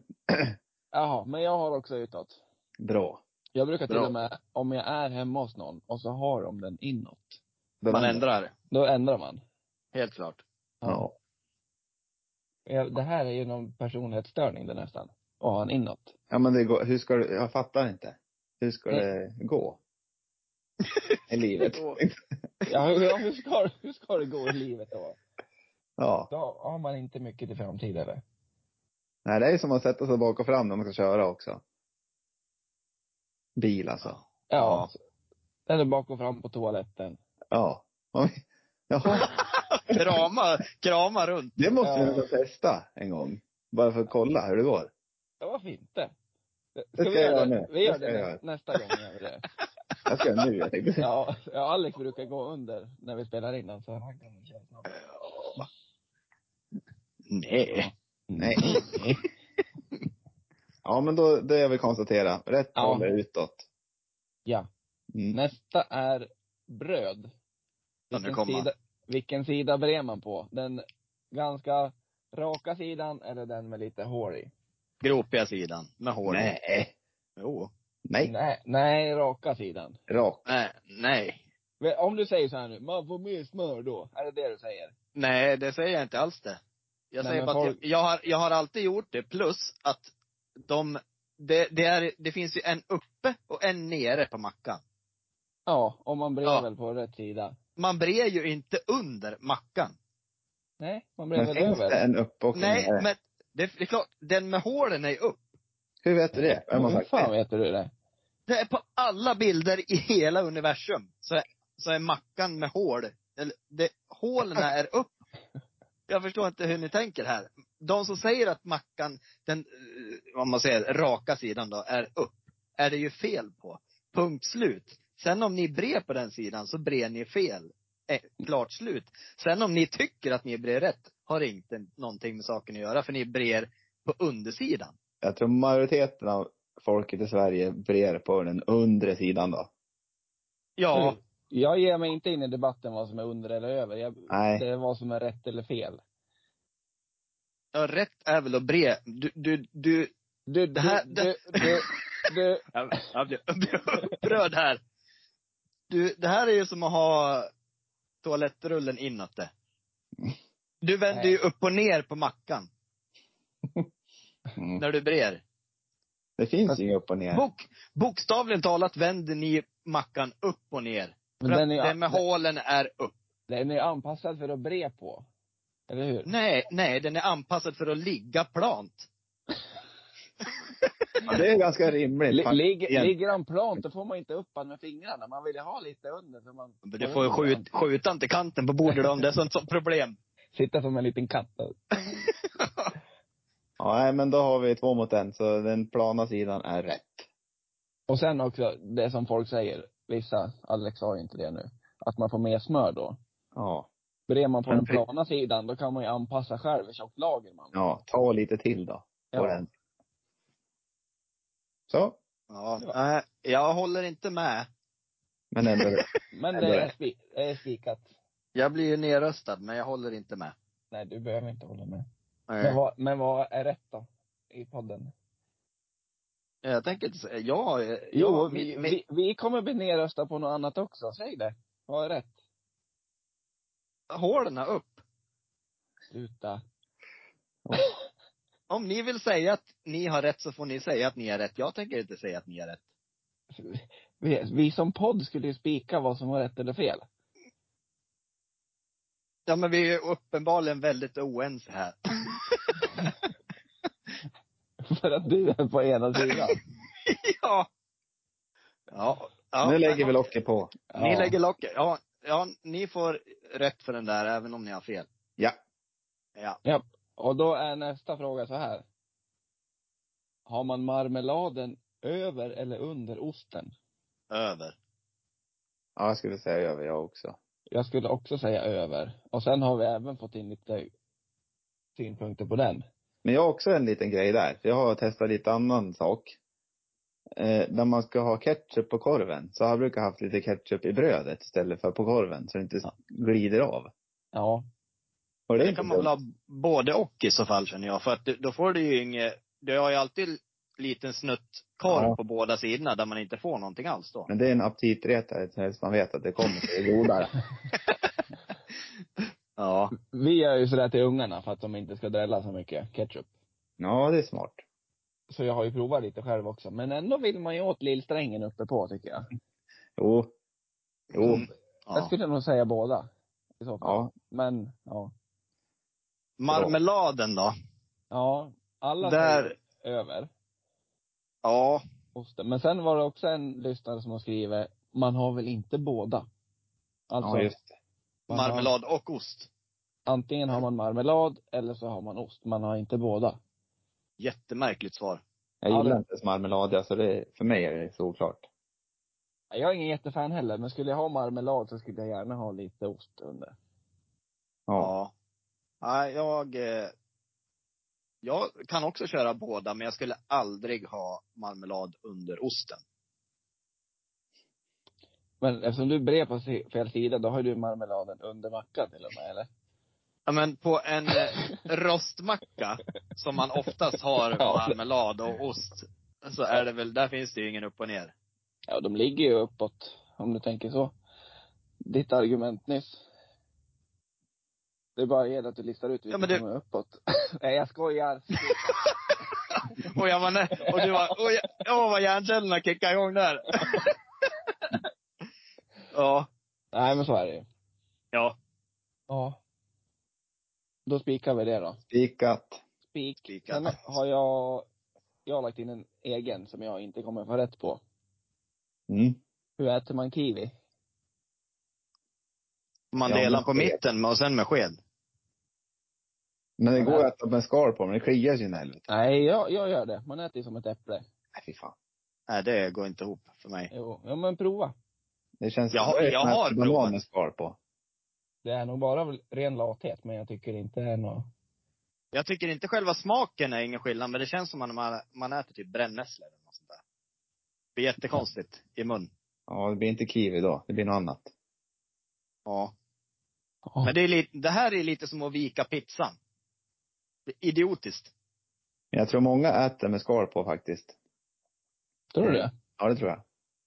[SPEAKER 1] Jaha, men jag har också utåt.
[SPEAKER 3] Bra.
[SPEAKER 1] Jag brukar till
[SPEAKER 2] Bra.
[SPEAKER 1] och med, om jag är hemma hos någon och så har de den inåt,
[SPEAKER 3] Den
[SPEAKER 2] Man
[SPEAKER 3] andra.
[SPEAKER 2] ändrar.
[SPEAKER 1] då ändrar man.
[SPEAKER 2] Helt klart.
[SPEAKER 3] Ja.
[SPEAKER 1] Jag, det här är ju någon personlighetsstörning det nästan. Att ha en inåt.
[SPEAKER 3] Ja men det går, hur ska du, jag fattar inte. Hur ska det gå? I livet.
[SPEAKER 2] Gå.
[SPEAKER 1] Ja, hur, ja, hur, ska, hur ska det gå i livet då?
[SPEAKER 3] Ja.
[SPEAKER 1] Då har man inte mycket till framtid eller?
[SPEAKER 3] Nej, det är som att sätta sig bak och fram när man ska köra också. Bil alltså.
[SPEAKER 1] Ja.
[SPEAKER 2] Ja.
[SPEAKER 1] så- Eller bak och fram på toaletten.
[SPEAKER 3] Ja. Man- Jaha,
[SPEAKER 2] Krama, krama runt.
[SPEAKER 3] det måste vi
[SPEAKER 1] Ja.
[SPEAKER 3] nästan testa en gång. Bara för att kolla hur det går.
[SPEAKER 1] Ja, varför inte? Ska
[SPEAKER 3] Det ska
[SPEAKER 1] vi
[SPEAKER 3] jag
[SPEAKER 1] göra
[SPEAKER 3] göra
[SPEAKER 1] det?
[SPEAKER 3] nu.
[SPEAKER 1] Vi gör
[SPEAKER 3] Det ska
[SPEAKER 1] det
[SPEAKER 3] jag
[SPEAKER 1] nä- nästa gång gör vi det.
[SPEAKER 3] Jag ska göra nu, jag tänkte.
[SPEAKER 1] Ja, ja, Alex brukar gå under när vi spelar in den, så han kan köra snabbt.
[SPEAKER 2] Ja. Nej.
[SPEAKER 3] Nej. Ja, men då, det har vi konstaterat. Rätt
[SPEAKER 1] Ja.
[SPEAKER 3] håll är utåt.
[SPEAKER 1] Ja.
[SPEAKER 3] Mm.
[SPEAKER 1] Nästa är bröd.
[SPEAKER 2] Kan du
[SPEAKER 1] Vilken
[SPEAKER 2] komma?
[SPEAKER 1] sida, vilken sida brer man på? Den ganska raka sidan eller den med lite hår i?
[SPEAKER 2] Gropiga sidan. Med hår.
[SPEAKER 3] Nej.
[SPEAKER 2] Jo.
[SPEAKER 3] Nej.
[SPEAKER 1] Nej, nej, raka sidan.
[SPEAKER 3] Rak.
[SPEAKER 2] Nej. Nej.
[SPEAKER 1] Men Om du säger så här nu, man får mer smör då. Är det det du säger?
[SPEAKER 2] Nej, det säger jag inte alls det. Jag
[SPEAKER 1] Nej,
[SPEAKER 2] säger
[SPEAKER 1] men
[SPEAKER 2] bara att
[SPEAKER 1] folk-
[SPEAKER 2] jag, jag, har, jag har alltid gjort det, plus att de, det, det, är, det finns ju en uppe och en nere på mackan.
[SPEAKER 1] Ja, om man brer
[SPEAKER 2] Ja.
[SPEAKER 1] väl på rätt sida.
[SPEAKER 2] Man brer ju inte under mackan.
[SPEAKER 1] Nej, man brer
[SPEAKER 3] Men
[SPEAKER 1] väl
[SPEAKER 3] finns det
[SPEAKER 1] över.
[SPEAKER 3] en upp och en
[SPEAKER 2] Nej,
[SPEAKER 3] ner?
[SPEAKER 2] men det, det är klart, den med hålen är ju upp.
[SPEAKER 3] Hur vet du det? Vem har
[SPEAKER 1] Hur
[SPEAKER 3] sagt
[SPEAKER 1] fan
[SPEAKER 3] det?
[SPEAKER 1] vet du det?
[SPEAKER 2] Det är på alla bilder i hela universum, så är, så är mackan med hål, eller det, hålen är upp. jag förstår inte hur ni tänker här. De som säger att Mackan, den, eh, vad man säger, raka sidan då, är upp, är det ju fel på. Punkt slut. Sen om ni brer på den sidan så brer ni fel. Eh, klart slut. Sen om ni tycker att ni brer rätt, har inte någonting med saken att göra, för ni brer på undersidan.
[SPEAKER 3] Jag tror majoriteten av folket i Sverige brer på den undre sidan då.
[SPEAKER 2] Ja.
[SPEAKER 1] Mm. Jag ger mig inte in i debatten vad som är under eller över. Jag,
[SPEAKER 3] Nej.
[SPEAKER 1] det är vad som är rätt eller fel.
[SPEAKER 2] Ja, rätt är väl att bre. Du, du, du.
[SPEAKER 1] Du,
[SPEAKER 2] Det här-
[SPEAKER 1] du,
[SPEAKER 2] det-
[SPEAKER 1] du, du, du,
[SPEAKER 2] Jag, jag blir jag blir upprörd här. Du, det här är ju som att ha toalettrullen inåt det. Du vänder ju upp och ner på mackan
[SPEAKER 3] Mm.
[SPEAKER 2] när du brer.
[SPEAKER 3] Det finns ju inget upp och ner.
[SPEAKER 2] Bok, bokstavligen talat vänder ni mackan upp och ner. För
[SPEAKER 1] men den är
[SPEAKER 2] att den med
[SPEAKER 1] ju,
[SPEAKER 2] hålen är upp.
[SPEAKER 1] den är ju anpassad för att bre på. Eller hur?
[SPEAKER 2] Nej, nej, den är anpassad för att ligga plant.
[SPEAKER 3] Ja, Det är ganska rimligt.
[SPEAKER 1] Li-
[SPEAKER 3] faktiskt.
[SPEAKER 1] ligger,
[SPEAKER 3] igen.
[SPEAKER 1] ligger han plant, då får man inte upp han med fingrarna. Man vill ju ha lite under. För man
[SPEAKER 2] Men Du får ju skjut, skjuta inte kanten på bordet om det är sånt som problem.
[SPEAKER 1] Sitta som en liten katt. där.
[SPEAKER 3] Ja, nej, men då har vi två mot en, så den plana sidan är rätt.
[SPEAKER 1] Och sen också, det som folk säger, vissa, Alex sa ju inte det nu, att man får mer smör då.
[SPEAKER 3] Ja.
[SPEAKER 1] Brer man på
[SPEAKER 3] Men
[SPEAKER 1] den
[SPEAKER 3] pre-
[SPEAKER 1] plana sidan, då kan man ju anpassa själv hur tjockt lager man vill.
[SPEAKER 3] Ja, ta lite till då. På den. Så.
[SPEAKER 2] Ja, nej, jag håller inte med.
[SPEAKER 3] Men ändå rätt.
[SPEAKER 1] Men det är, spi- det är spikat.
[SPEAKER 2] Jag blir ju nerröstad, men jag håller inte med.
[SPEAKER 1] Nej, du behöver inte hålla med. Men
[SPEAKER 2] Nej.
[SPEAKER 1] vad, men vad är rätt då? I podden?
[SPEAKER 2] Eh, Jag tänker inte säga, ja, eh,
[SPEAKER 1] Jo,
[SPEAKER 2] ja,
[SPEAKER 1] vi,
[SPEAKER 2] mitt-
[SPEAKER 1] vi, vi kommer bli nerröstade på något annat också. Säg det. Vad är rätt?
[SPEAKER 2] hålen är upp.
[SPEAKER 1] Sluta.
[SPEAKER 2] Om ni vill säga att ni har rätt så får ni säga att ni har rätt. Jag tänker inte säga att ni har rätt.
[SPEAKER 1] Vi, vi som podd skulle ju spika vad som var rätt eller fel.
[SPEAKER 2] Ja, men vi är ju uppenbarligen väldigt oense här.
[SPEAKER 1] För att du är på ena sidan.
[SPEAKER 2] ja. Ja. ja.
[SPEAKER 3] nu lägger vi locket på.
[SPEAKER 2] Ni lägger locket. Ja, ja, ni får rätt för den där, även om ni har fel.
[SPEAKER 3] Ja.
[SPEAKER 2] Ja.
[SPEAKER 1] Och då är nästa fråga så här. Har man marmeladen över eller under osten?
[SPEAKER 2] Över.
[SPEAKER 3] Ja, jag skulle säga över jag också.
[SPEAKER 1] Jag skulle också säga över. Och sen har vi även fått in lite synpunkter på den.
[SPEAKER 3] Men jag har också en liten grej där. för Jag har testat lite annan sak. Eh, när man ska ha ketchup på korven, så har jag brukar haft lite ketchup i brödet istället för på korven, så det inte
[SPEAKER 1] Ja.
[SPEAKER 3] glider av.
[SPEAKER 1] Ja.
[SPEAKER 3] Och det är
[SPEAKER 2] Det
[SPEAKER 3] inte
[SPEAKER 2] kan man väl
[SPEAKER 3] dumt.
[SPEAKER 2] ha både och i så fall känner jag. För att du- då får du ju inget, du har ju alltid liten snutt korv
[SPEAKER 3] Ja.
[SPEAKER 2] på båda sidorna där man inte får någonting alls då.
[SPEAKER 3] Men det är en aptitretare, tills man vet att det kommer, det är godare.
[SPEAKER 2] Ja.
[SPEAKER 1] Vi gör ju sådär till ungarna för att de inte ska drälla så mycket ketchup.
[SPEAKER 3] Ja, det är smart.
[SPEAKER 1] Så jag har ju provat lite själv också. Men ändå vill man ju åt lillsträngen uppe på tycker jag.
[SPEAKER 3] Jo. Jo.
[SPEAKER 2] Mm.
[SPEAKER 1] Jag
[SPEAKER 2] ja.
[SPEAKER 1] skulle nog säga båda. I så fall.
[SPEAKER 3] Ja.
[SPEAKER 1] Men, ja.
[SPEAKER 2] Marmeladen då?
[SPEAKER 1] Ja. Alla
[SPEAKER 2] Där,
[SPEAKER 1] säger över.
[SPEAKER 2] ja.
[SPEAKER 1] osten. Men sen var det också en lyssnare som har skrivit, man har väl inte båda? Alltså,
[SPEAKER 3] ja, just det.
[SPEAKER 1] man har-
[SPEAKER 2] Marmelad och ost.
[SPEAKER 1] antingen har man marmelad eller så har man ost. Man har inte båda.
[SPEAKER 2] Jättemärkligt svar.
[SPEAKER 3] Jag
[SPEAKER 1] Ja,
[SPEAKER 3] gillar
[SPEAKER 1] det-
[SPEAKER 3] inte ens marmelad, så det, för mig är det såklart.
[SPEAKER 1] Jag är ingen jättefan heller, men skulle jag ha marmelad så skulle jag gärna ha lite ost under.
[SPEAKER 2] Ja.
[SPEAKER 3] Ja.
[SPEAKER 2] Nej, jag, eh, jag kan också köra båda, men jag skulle aldrig ha marmelad under osten.
[SPEAKER 1] Men eftersom du bred på si- fel sida, då har du marmeladen under mackan till och med, eller?
[SPEAKER 2] Ja, men på en eh, rostmacka, som man oftast har med
[SPEAKER 1] Ja.
[SPEAKER 2] marmelad och ost, så är det väl, där finns det ju ingen upp och ner.
[SPEAKER 1] Ja, de ligger ju uppåt, om du tänker så. Ditt argument nyss. Det är bara gäller att du listar ut vilka
[SPEAKER 2] Ja, men det-
[SPEAKER 1] som är uppåt. Nej, jag skojar.
[SPEAKER 2] Och jag var nä- och du var, och jag, åh vad hjärncellerna kickade igång där. ja,
[SPEAKER 1] Nej, men så är det ju.
[SPEAKER 2] ja,
[SPEAKER 1] Ja. Då spikar vi det då.
[SPEAKER 3] Spikat.
[SPEAKER 1] Spik.
[SPEAKER 2] lika.
[SPEAKER 1] Sen har jag, jag har lagt in en egen som jag inte kommer få rätt på.
[SPEAKER 3] Mm.
[SPEAKER 1] Hur äter man kiwi?
[SPEAKER 2] Man
[SPEAKER 3] Ja,
[SPEAKER 2] delar
[SPEAKER 3] men-
[SPEAKER 2] på mitten med- och sen med sked.
[SPEAKER 3] Men det går ju att ta med skal på, men det kliar sig in i helvete.
[SPEAKER 1] Nej, jag, jag gör det. Man äter ju som ett äpple.
[SPEAKER 3] Nej, fy fan.
[SPEAKER 2] Nej, det går inte ihop för mig.
[SPEAKER 1] Jo, ja, men prova.
[SPEAKER 3] Det känns
[SPEAKER 2] Jag har-
[SPEAKER 3] det är
[SPEAKER 2] jag
[SPEAKER 3] knappt
[SPEAKER 2] har
[SPEAKER 3] banan
[SPEAKER 2] provat.
[SPEAKER 3] med skal på.
[SPEAKER 1] Det är nog bara väl ren lathet, men jag tycker inte det är något...
[SPEAKER 2] Jag tycker inte själva smaken är ingen skillnad, men det känns som att man, man äter typ brännässlor eller något sånt där. Det blir jättekonstigt i mun.
[SPEAKER 3] Ja, det blir inte kiwi då. Det blir något annat.
[SPEAKER 2] Ja. Men det, är lite, det här är lite som att vika pizzan. Det är idiotiskt.
[SPEAKER 3] Men jag tror många äter med skal på faktiskt.
[SPEAKER 1] Tror du det?
[SPEAKER 3] Ja, det tror jag.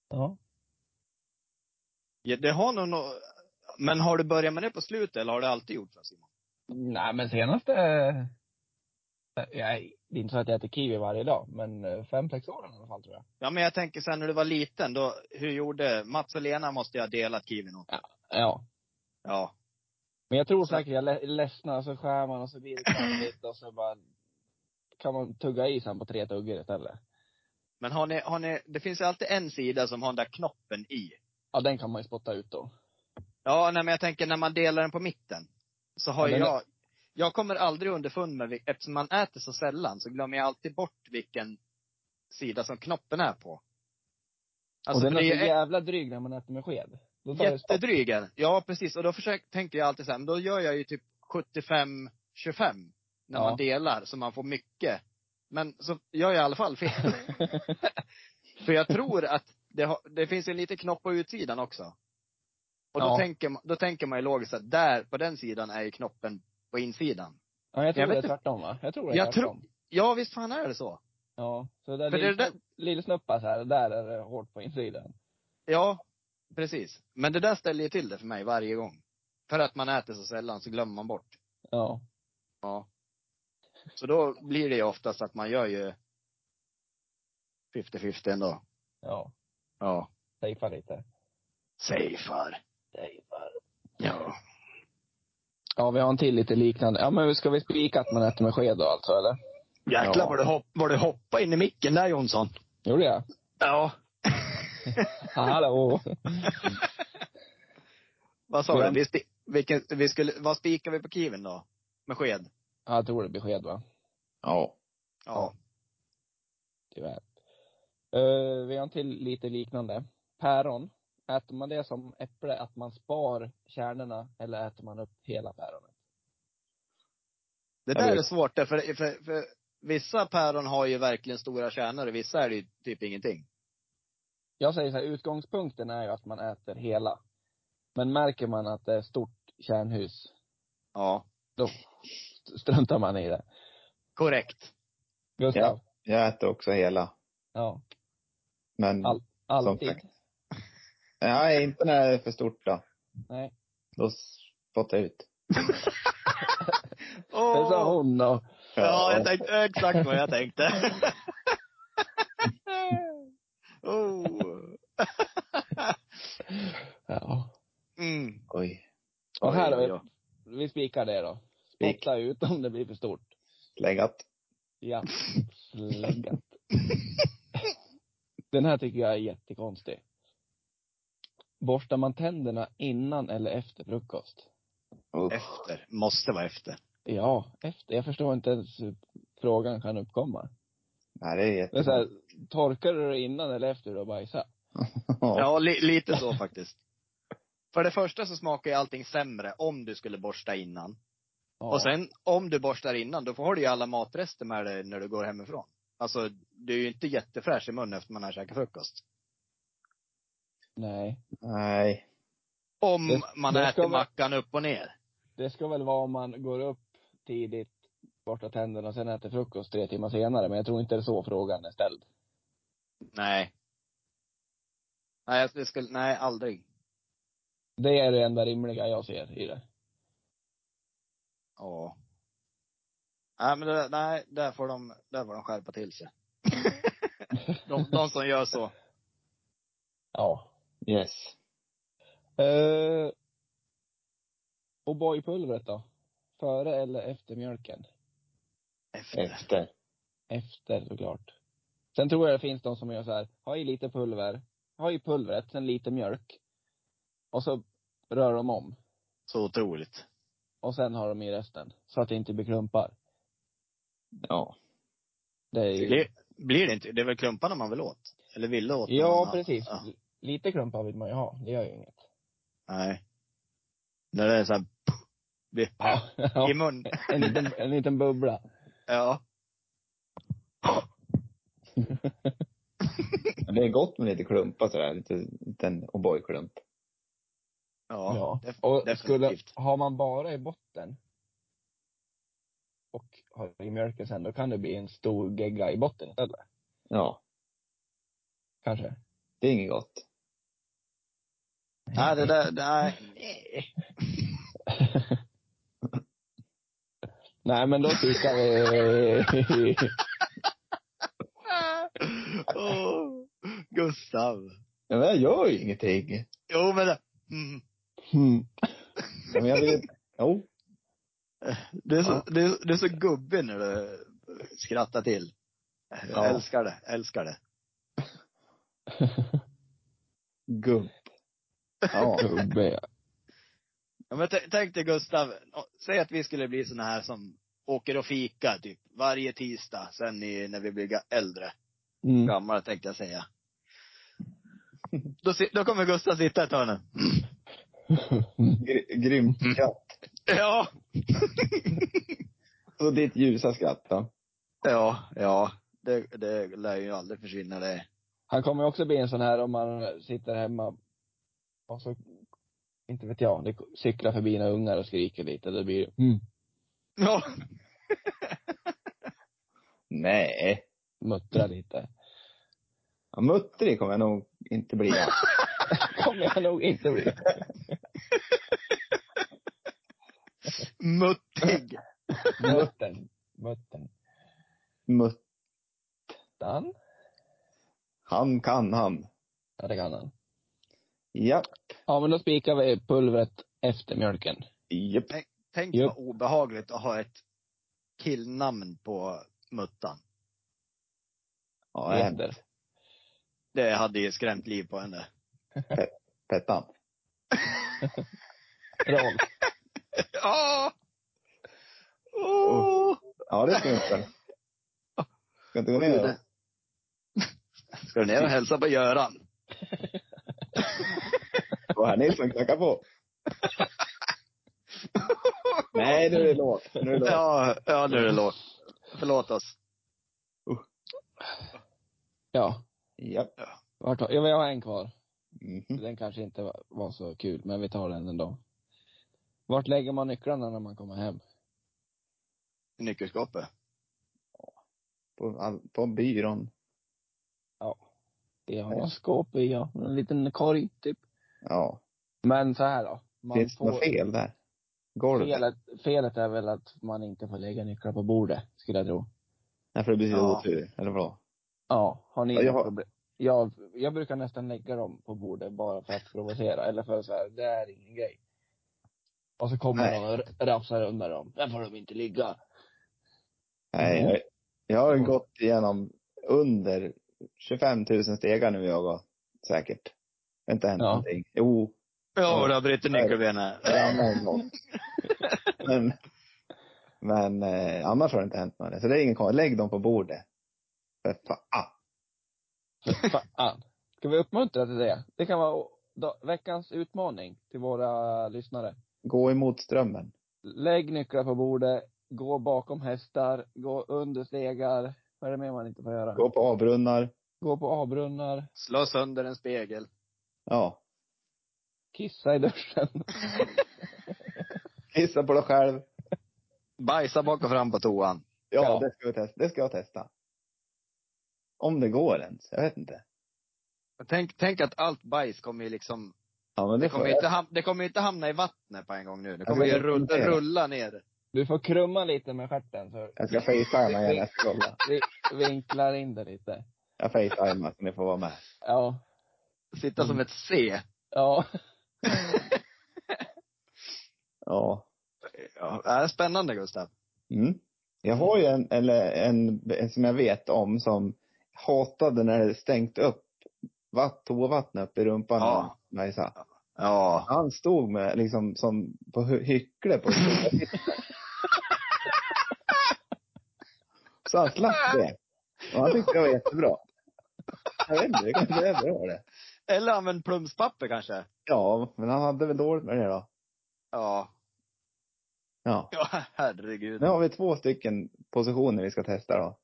[SPEAKER 1] Ja.
[SPEAKER 2] Ja, Det har nog nå- Men har du börjat med det på slutet eller har du alltid gjort det Simon?
[SPEAKER 1] Nej, men senaste... Jag, det är inte så att jag äter kiwi varje dag, men eh, fem, sex år i alla fall tror jag.
[SPEAKER 2] Ja men jag tänker sen när du var liten, då, hur gjorde, Mats och Lena måste ju ha delat kiwin åt.
[SPEAKER 1] Ja.
[SPEAKER 2] Ja.
[SPEAKER 1] Men jag tror säkert jag le- ledsnar, så skär man och så blir det kladdigt och så bara kan man tugga i sen på tre tuggor istället.
[SPEAKER 2] Men har ni, har ni, det finns ju alltid en sida som har den där knoppen i.
[SPEAKER 1] Ja, den kan man ju spotta ut då.
[SPEAKER 2] Ja, nej, men jag tänker när man delar den på mitten. Så har
[SPEAKER 1] Ja,
[SPEAKER 2] ju
[SPEAKER 1] den är-
[SPEAKER 2] jag, jag kommer aldrig underfund med, vil- eftersom man äter så sällan, så glömmer jag alltid bort vilken sida som knoppen är på. Alltså,
[SPEAKER 1] och den
[SPEAKER 2] för
[SPEAKER 1] är
[SPEAKER 2] det
[SPEAKER 1] så
[SPEAKER 2] är ju
[SPEAKER 1] jävla dryg när man äter med sked. Då tar det stopp.
[SPEAKER 2] jättedryg är den. Ja, precis. Och då försöker, tänker jag alltid så här, men då gör jag ju typ 75-25 när
[SPEAKER 1] Ja.
[SPEAKER 2] man delar, så man får mycket. Men så gör jag i alla fall fel. För jag tror att det, har, det finns ju en liten knopp på utsidan också. Och då,
[SPEAKER 1] Ja.
[SPEAKER 2] tänker, man- då tänker man ju logiskt att där, på den sidan, är ju knoppen på insidan.
[SPEAKER 1] Ja, jag tror
[SPEAKER 2] Jag
[SPEAKER 1] det
[SPEAKER 2] vet
[SPEAKER 1] är
[SPEAKER 2] inte.
[SPEAKER 1] tvärtom va? Jag tror det är
[SPEAKER 2] Jag tror-
[SPEAKER 1] tvärtom.
[SPEAKER 2] Ja, visst fan är det så.
[SPEAKER 1] Ja. Så där
[SPEAKER 2] För det är
[SPEAKER 1] lillsnupp- lillsnuppar så här, där är det hårt på insidan.
[SPEAKER 2] Ja, precis. Men det där ställer ju till det för mig varje gång. För att man äter så sällan så glömmer man bort.
[SPEAKER 1] Ja.
[SPEAKER 2] Ja. Så då blir det ju oftast att man gör ju 50-50 ändå.
[SPEAKER 1] Ja.
[SPEAKER 2] Ja.
[SPEAKER 1] Safea lite.
[SPEAKER 2] Safear.
[SPEAKER 1] Safear.
[SPEAKER 2] Ja.
[SPEAKER 1] Ja, vi har en till lite liknande. Ja, men ska vi spika att man äter med sked då alltså, eller?
[SPEAKER 2] Jäklar
[SPEAKER 3] Ja.
[SPEAKER 2] vad, du hopp, vad du hoppade in i micken där Jonsson.
[SPEAKER 1] Gjorde jag?
[SPEAKER 2] Ja.
[SPEAKER 1] Hallå!
[SPEAKER 2] Vad sa du? Vi, spi- vilken, vi skulle, vad spikar vi på kiven då? Med sked?
[SPEAKER 1] Ja, jag tror det blir sked va?
[SPEAKER 3] Ja.
[SPEAKER 2] Ja.
[SPEAKER 1] Tyvärr. Eh, vi har en till lite liknande. Päron. Äter man det som äpple, att man spar kärnorna, eller äter man upp hela päronet?
[SPEAKER 2] Det
[SPEAKER 3] Jag
[SPEAKER 2] där
[SPEAKER 3] vet.
[SPEAKER 2] är svårt där, för, för, för vissa päron har ju verkligen stora kärnor och vissa är det ju typ ingenting.
[SPEAKER 1] Jag säger så här, utgångspunkten är ju att man äter hela. Men märker man att det är stort kärnhus,
[SPEAKER 2] Ja.
[SPEAKER 1] då st- struntar man i det.
[SPEAKER 2] Korrekt.
[SPEAKER 1] Gustav?
[SPEAKER 3] Jag äter också hela.
[SPEAKER 1] Ja.
[SPEAKER 3] Men,
[SPEAKER 1] Allt. Alltid?
[SPEAKER 3] sagt. nej, inte när det är för stort då.
[SPEAKER 1] Nej.
[SPEAKER 3] Då spottar jag ut.
[SPEAKER 1] Det sa hon då.
[SPEAKER 2] Ja, jag tänkte exakt vad jag tänkte. oh.
[SPEAKER 1] Ja.
[SPEAKER 2] mm.
[SPEAKER 3] Oj.
[SPEAKER 1] Och här har
[SPEAKER 2] Oj,
[SPEAKER 1] vi
[SPEAKER 2] ja.
[SPEAKER 1] Vi spikar det då.
[SPEAKER 3] Spik.
[SPEAKER 1] Spotta ut om det blir för stort.
[SPEAKER 3] Läggat.
[SPEAKER 1] Ja. Släggat. Den här tycker jag är jättekonstig. Borstar man tänderna innan eller efter frukost?
[SPEAKER 3] Uff.
[SPEAKER 2] Efter. Måste vara efter.
[SPEAKER 1] Ja, efter. Jag förstår inte ens hur frågan kan uppkomma.
[SPEAKER 3] Nej, det är
[SPEAKER 1] Det är så
[SPEAKER 3] jättebra.
[SPEAKER 1] här, torkar du dig innan eller efter du har bajsat?
[SPEAKER 3] Ja.
[SPEAKER 2] Ja, li, lite så faktiskt. För det första så smakar ju allting sämre om du skulle borsta innan.
[SPEAKER 1] Ja.
[SPEAKER 2] Och sen om du borstar innan, då får du ju alla matrester med dig när du går hemifrån. Alltså, du är ju inte jättefräsch i munnen efter man har käkat frukost.
[SPEAKER 1] Nej.
[SPEAKER 3] Nej.
[SPEAKER 2] Om
[SPEAKER 1] Det-
[SPEAKER 2] man
[SPEAKER 1] det ska
[SPEAKER 2] äter
[SPEAKER 1] vara-
[SPEAKER 2] mackan upp och ner.
[SPEAKER 1] Det ska väl vara om man går upp tidigt, borstar tänderna och sen äter frukost tre timmar senare. Men jag tror inte det är så frågan är ställd.
[SPEAKER 2] Nej. Nej, jag- det skulle, nej aldrig.
[SPEAKER 1] Det är det enda rimliga jag ser i det.
[SPEAKER 2] Ja. Nej, men det, nej, där får de, där får de skärpa till sig. de, de som gör så.
[SPEAKER 1] Ja.
[SPEAKER 3] Yes.
[SPEAKER 1] Eh, och boypulvret då? Före eller efter mjölken?
[SPEAKER 2] Efter.
[SPEAKER 3] Efter.
[SPEAKER 1] Efter såklart. Sen tror jag det finns de som gör så här, ha i lite pulver, ha i pulvret, sen lite mjölk. Och så rör de om.
[SPEAKER 2] Så otroligt.
[SPEAKER 1] och sen har de i resten. Så att det inte blir klumpar.
[SPEAKER 3] Ja.
[SPEAKER 1] Det är ju...
[SPEAKER 2] Blir, blir det inte? Det är väl klumparna man vill åt? Eller vill åt? när man
[SPEAKER 1] Ja,
[SPEAKER 2] har-
[SPEAKER 1] precis.
[SPEAKER 2] Ja.
[SPEAKER 1] Lite klumpar vill man ju ha. Det gör ju inget.
[SPEAKER 2] Nej. När det är så här, det,
[SPEAKER 1] Ja.
[SPEAKER 2] i mun.
[SPEAKER 1] En, liten, en liten bubbla.
[SPEAKER 2] Ja.
[SPEAKER 3] Men det är gott med lite klumpa sådär. Lite, lite en O'boy-klump.
[SPEAKER 2] Ja.
[SPEAKER 1] Ja.
[SPEAKER 2] def-
[SPEAKER 1] Och
[SPEAKER 2] definitivt.
[SPEAKER 1] skulle, har man bara i botten och har i mjölken sen, då kan det bli en stor gegga i botten istället.
[SPEAKER 3] Ja.
[SPEAKER 1] Kanske.
[SPEAKER 3] Det är inget gott.
[SPEAKER 2] Nej, det där, nej. nej.
[SPEAKER 1] Nej, men då eh, fikar vi.
[SPEAKER 2] Åh, Gustav.
[SPEAKER 3] Ja, men jag gör ju ingenting.
[SPEAKER 2] Jo, men det- mm.
[SPEAKER 1] Mm.
[SPEAKER 3] Ja, men jag vill Jo.
[SPEAKER 2] du, är så, du, är- du är så gubbig när du skrattar till. Jag
[SPEAKER 3] Ja.
[SPEAKER 2] älskar det, älskar det.
[SPEAKER 3] Gump. Ja.
[SPEAKER 1] Gubbe.
[SPEAKER 2] Ja, men t- tänk dig Gustav, Nå- säg att vi skulle bli såna här som åker och fika typ varje tisdag sen i, när vi blir ga- äldre.
[SPEAKER 1] Mm.
[SPEAKER 2] Gamla tänkte jag säga. Då, si- då kommer Gustav sitta i ett hörn.
[SPEAKER 3] Gr- grymt skratt.
[SPEAKER 2] Ja.
[SPEAKER 3] Så ditt ljusa skratt då?
[SPEAKER 2] Ja, ja. Det, det lär ju aldrig försvinna det.
[SPEAKER 1] Han kommer ju också bli en sån här om man sitter hemma och så, inte vet jag, det cyklar förbi några ungar och skriker lite. Det blir mm,
[SPEAKER 2] Ja.
[SPEAKER 3] Nej.
[SPEAKER 1] muttrar lite.
[SPEAKER 3] Ja, Muttrig kommer jag nog inte bli.
[SPEAKER 1] kommer jag nog inte bli.
[SPEAKER 2] Muttig.
[SPEAKER 1] Muttern. Muttern.
[SPEAKER 3] Mutt.
[SPEAKER 1] Dan?
[SPEAKER 3] Han kan han.
[SPEAKER 1] Ja, det kan han.
[SPEAKER 3] Ja.
[SPEAKER 1] Ja, men då spikar vi pulvret efter mjölken.
[SPEAKER 3] Japp.
[SPEAKER 2] Tänk
[SPEAKER 1] Japp.
[SPEAKER 2] vad obehagligt att ha ett killnamn på muttan.
[SPEAKER 3] Ja,
[SPEAKER 1] Det
[SPEAKER 3] hem.
[SPEAKER 1] händer.
[SPEAKER 2] Det hade ju skrämt liv på henne.
[SPEAKER 3] Pettan.
[SPEAKER 1] Rolf.
[SPEAKER 2] Ja! Åh!
[SPEAKER 3] Ja, det ska vi inte. Ska inte gå ner då?
[SPEAKER 2] Ska du ner och hälsa på Göran?
[SPEAKER 3] Det var herr Nilsson knackar på. Nej, nu är det lågt. Nu är det lågt.
[SPEAKER 2] Ja, ja nu är det lågt. Förlåt oss.
[SPEAKER 1] Ja.
[SPEAKER 3] Ja.
[SPEAKER 1] Vart har, ja, men jag har en kvar.
[SPEAKER 3] Mhm.
[SPEAKER 1] Den kanske inte var- var så kul, men vi tar den ändå. Vart lägger man nycklarna när man kommer hem?
[SPEAKER 2] Nyckelskåpet.
[SPEAKER 3] På, all- på byrån.
[SPEAKER 1] Det har jag skåp i, ja. En liten korg, typ.
[SPEAKER 3] Ja.
[SPEAKER 1] Men så här då. Man
[SPEAKER 3] Finns det något fel där? Golvet?
[SPEAKER 1] felet, felet är väl att man inte får lägga nycklar på bordet, skulle jag tro.
[SPEAKER 3] Nej, för det blir så
[SPEAKER 2] Ja.
[SPEAKER 3] otur. Eller vadå?
[SPEAKER 1] Ja, har ni
[SPEAKER 3] Ja,
[SPEAKER 1] jag
[SPEAKER 3] jag har-
[SPEAKER 1] problem? Jag, jag brukar nästan lägga dem på bordet bara för att provocera, eller för att säga, det är ingen grej. Och så kommer
[SPEAKER 3] Nej.
[SPEAKER 1] de och r- rafsar undan dem. Där får de inte ligga.
[SPEAKER 3] Nej,
[SPEAKER 1] Mhm.
[SPEAKER 3] jag, jag har ju
[SPEAKER 1] Ja.
[SPEAKER 3] gått igenom under 25 000 stegar nu jag och säkert. Det har inte hänt
[SPEAKER 1] Ja.
[SPEAKER 3] någonting. Jo,
[SPEAKER 2] Ja, och det har brutit nyckelbenet.
[SPEAKER 3] jag ramlade en gång. men men eh, annars har det inte hänt något. Så det är ingen konstigt. Lägg dem på bordet. För fan.
[SPEAKER 1] För Fan. Ska vi uppmuntra till det? Det kan vara o- da- veckans utmaning till våra lyssnare.
[SPEAKER 3] Gå emot strömmen.
[SPEAKER 1] Lägg nycklar på bordet, gå bakom hästar, gå under stegar. Vad är det mer man inte får göra?
[SPEAKER 3] Gå på avbrunnar.
[SPEAKER 1] Gå på avbrunnar,
[SPEAKER 2] Slå sönder en spegel.
[SPEAKER 3] Ja.
[SPEAKER 1] kissa i duschen.
[SPEAKER 3] Kissa på dig själv.
[SPEAKER 2] Bajsa bak och fram på toan.
[SPEAKER 3] Ja,
[SPEAKER 1] Ja.
[SPEAKER 3] Det, ska vi testa. det ska jag testa. Om det går ens. Jag vet inte.
[SPEAKER 2] Tänk, tänk att allt bajs kommer ju liksom,
[SPEAKER 3] Ja, men det,
[SPEAKER 2] det kommer,
[SPEAKER 3] får
[SPEAKER 2] ju
[SPEAKER 3] jag.
[SPEAKER 2] inte ham- det kommer ju inte hamna i vattnet på en gång nu. Det kommer
[SPEAKER 3] Jag
[SPEAKER 2] ju
[SPEAKER 3] ska
[SPEAKER 2] rulla,
[SPEAKER 3] dokumentera.
[SPEAKER 2] rulla ner.
[SPEAKER 1] Du får krumma lite med stjärten så
[SPEAKER 3] Jag ska facetima igen nästa gång. då.
[SPEAKER 1] vi vinklar in det lite.
[SPEAKER 3] Jag facetimar så ni får vara med.
[SPEAKER 1] Ja.
[SPEAKER 2] Sitta som ett C.
[SPEAKER 1] Ja.
[SPEAKER 3] Ja.
[SPEAKER 2] Ja, det är spännande Gustav.
[SPEAKER 3] Mm. Jag har ju en, eller en, en som jag vet om som hatade när det stängt upp vatt, toavattnet upp i rumpan.
[SPEAKER 2] Ja.
[SPEAKER 3] Nej, så.
[SPEAKER 2] Ja.
[SPEAKER 3] Han stod med liksom som på hy- hyckle på Så han slapp det. Och han tyckte det var jättebra. Jag vet inte, det kanske är bra det.
[SPEAKER 2] Eller använd plumspapper kanske.
[SPEAKER 3] Ja, men han hade väl dåligt med det då.
[SPEAKER 2] Ja.
[SPEAKER 3] Ja.
[SPEAKER 2] Ja, herregud.
[SPEAKER 3] Nu har vi två stycken positioner vi ska testa då.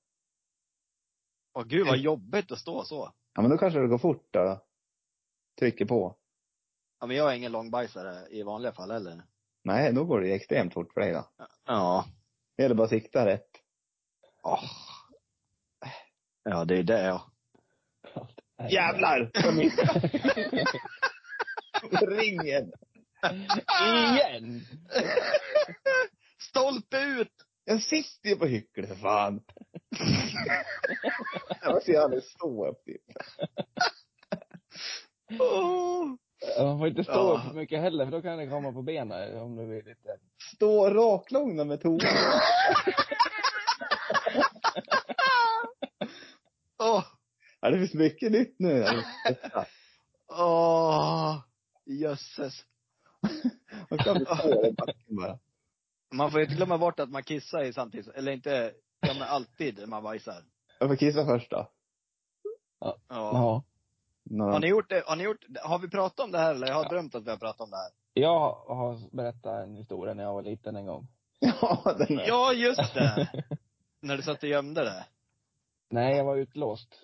[SPEAKER 2] Åh gud vad jobbigt att stå så.
[SPEAKER 3] Ja, men då kanske det går fort då. Trycker på.
[SPEAKER 2] Ja, men jag är ingen långbajsare i vanliga fall heller.
[SPEAKER 3] Nej, då går det ju extremt fort för dig då.
[SPEAKER 2] Ja.
[SPEAKER 3] Det gäller bara att sikta rätt.
[SPEAKER 2] Åh. Ja, det är det ja.
[SPEAKER 3] Jävlar! Ringen!
[SPEAKER 1] Igen!
[SPEAKER 2] Stolpe ut!
[SPEAKER 3] Jag sitter ju på hyckle för fan. Jag ser aldrig stå upp typ.
[SPEAKER 2] Åh.
[SPEAKER 1] Man får inte stå
[SPEAKER 2] Ja.
[SPEAKER 1] upp för mycket heller, för då kan det komma på benen om du blir lite...
[SPEAKER 3] Stå raklång när med toan.
[SPEAKER 2] Åh.
[SPEAKER 3] Ja, det finns mycket nytt nu.
[SPEAKER 2] Åh. Jösses.
[SPEAKER 3] Man kan bli stå i backen bara.
[SPEAKER 2] Man får ju inte glömma bort att man kissar i samtidigt, eller inte, ja men alltid när man bajsar.
[SPEAKER 3] Jag får kissa först då.
[SPEAKER 2] Ja.
[SPEAKER 1] Ja.
[SPEAKER 3] Några...
[SPEAKER 2] Har ni gjort det, har ni gjort, har vi pratat om det här eller jag har drömt att vi har pratat om det här?
[SPEAKER 1] Jag har berättat en historia när jag var liten en gång.
[SPEAKER 3] Ja, den är...
[SPEAKER 2] Ja, just det. när du satt och gömde det.
[SPEAKER 1] Nej, jag var utlåst.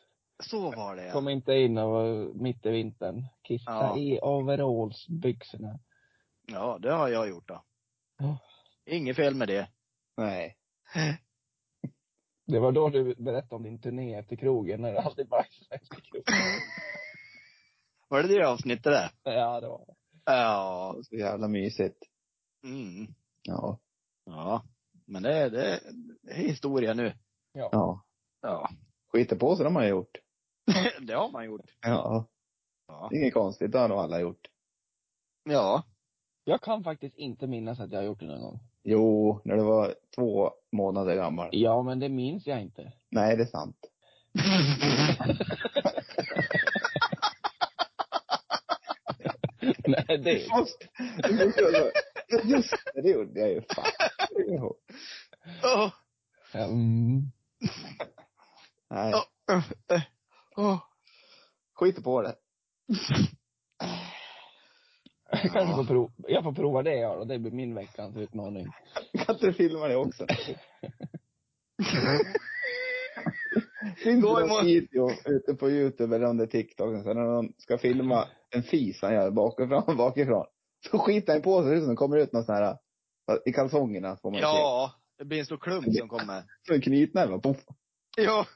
[SPEAKER 2] Så var det ja.
[SPEAKER 1] Kom inte in och var mitt i vintern. Kissa
[SPEAKER 2] Ja.
[SPEAKER 1] i overallsbyxorna.
[SPEAKER 2] Ja, det har jag gjort då.
[SPEAKER 1] Ja.
[SPEAKER 2] Inget fel med det.
[SPEAKER 3] Nej.
[SPEAKER 1] Det var då du berättade om din turné efter krogen, när du alltid bajsade efter krogen.
[SPEAKER 2] Var det det avsnittet där?
[SPEAKER 1] Ja, det var det.
[SPEAKER 2] Ja.
[SPEAKER 3] Så jävla mysigt.
[SPEAKER 2] Mm.
[SPEAKER 3] Ja.
[SPEAKER 2] Ja. Men det, det, det är historia nu.
[SPEAKER 3] Ja.
[SPEAKER 2] Ja.
[SPEAKER 3] Skiter på sig de har jag gjort.
[SPEAKER 2] det har man gjort.
[SPEAKER 3] Ja.
[SPEAKER 2] Ja.
[SPEAKER 3] Inget konstigt, det har nog alla gjort.
[SPEAKER 2] Ja.
[SPEAKER 1] Jag kan faktiskt inte minnas att jag har gjort det någon gång.
[SPEAKER 3] Jo, när du var två månader gammal.
[SPEAKER 1] Ja, men det minns jag inte.
[SPEAKER 3] Nej, det är sant.
[SPEAKER 1] Nej, det...
[SPEAKER 3] Just, just det, det gjorde jag ju. Fan. Jo.
[SPEAKER 2] Åh,
[SPEAKER 1] Mm.
[SPEAKER 3] Nej,
[SPEAKER 2] Ja. eh, åh.
[SPEAKER 3] skiter på det.
[SPEAKER 1] Jag kanske får prova, jag får prova det jag då. Det blir min veckans utmaning.
[SPEAKER 3] Kan inte du filma det också? Finns
[SPEAKER 2] Gå
[SPEAKER 3] det
[SPEAKER 2] imorgon.
[SPEAKER 3] någon video ute på Youtube eller om det är TikTok, så när någon ska filma en fis han gör bakifrån, bakifrån. Så skiter han på sig, det ser ut som det kommer ut någon sån här, i kalsongerna får man se.
[SPEAKER 2] Ja. Det blir en stor klump som kommer.
[SPEAKER 3] Så en knytnäve, poff.
[SPEAKER 2] Ja.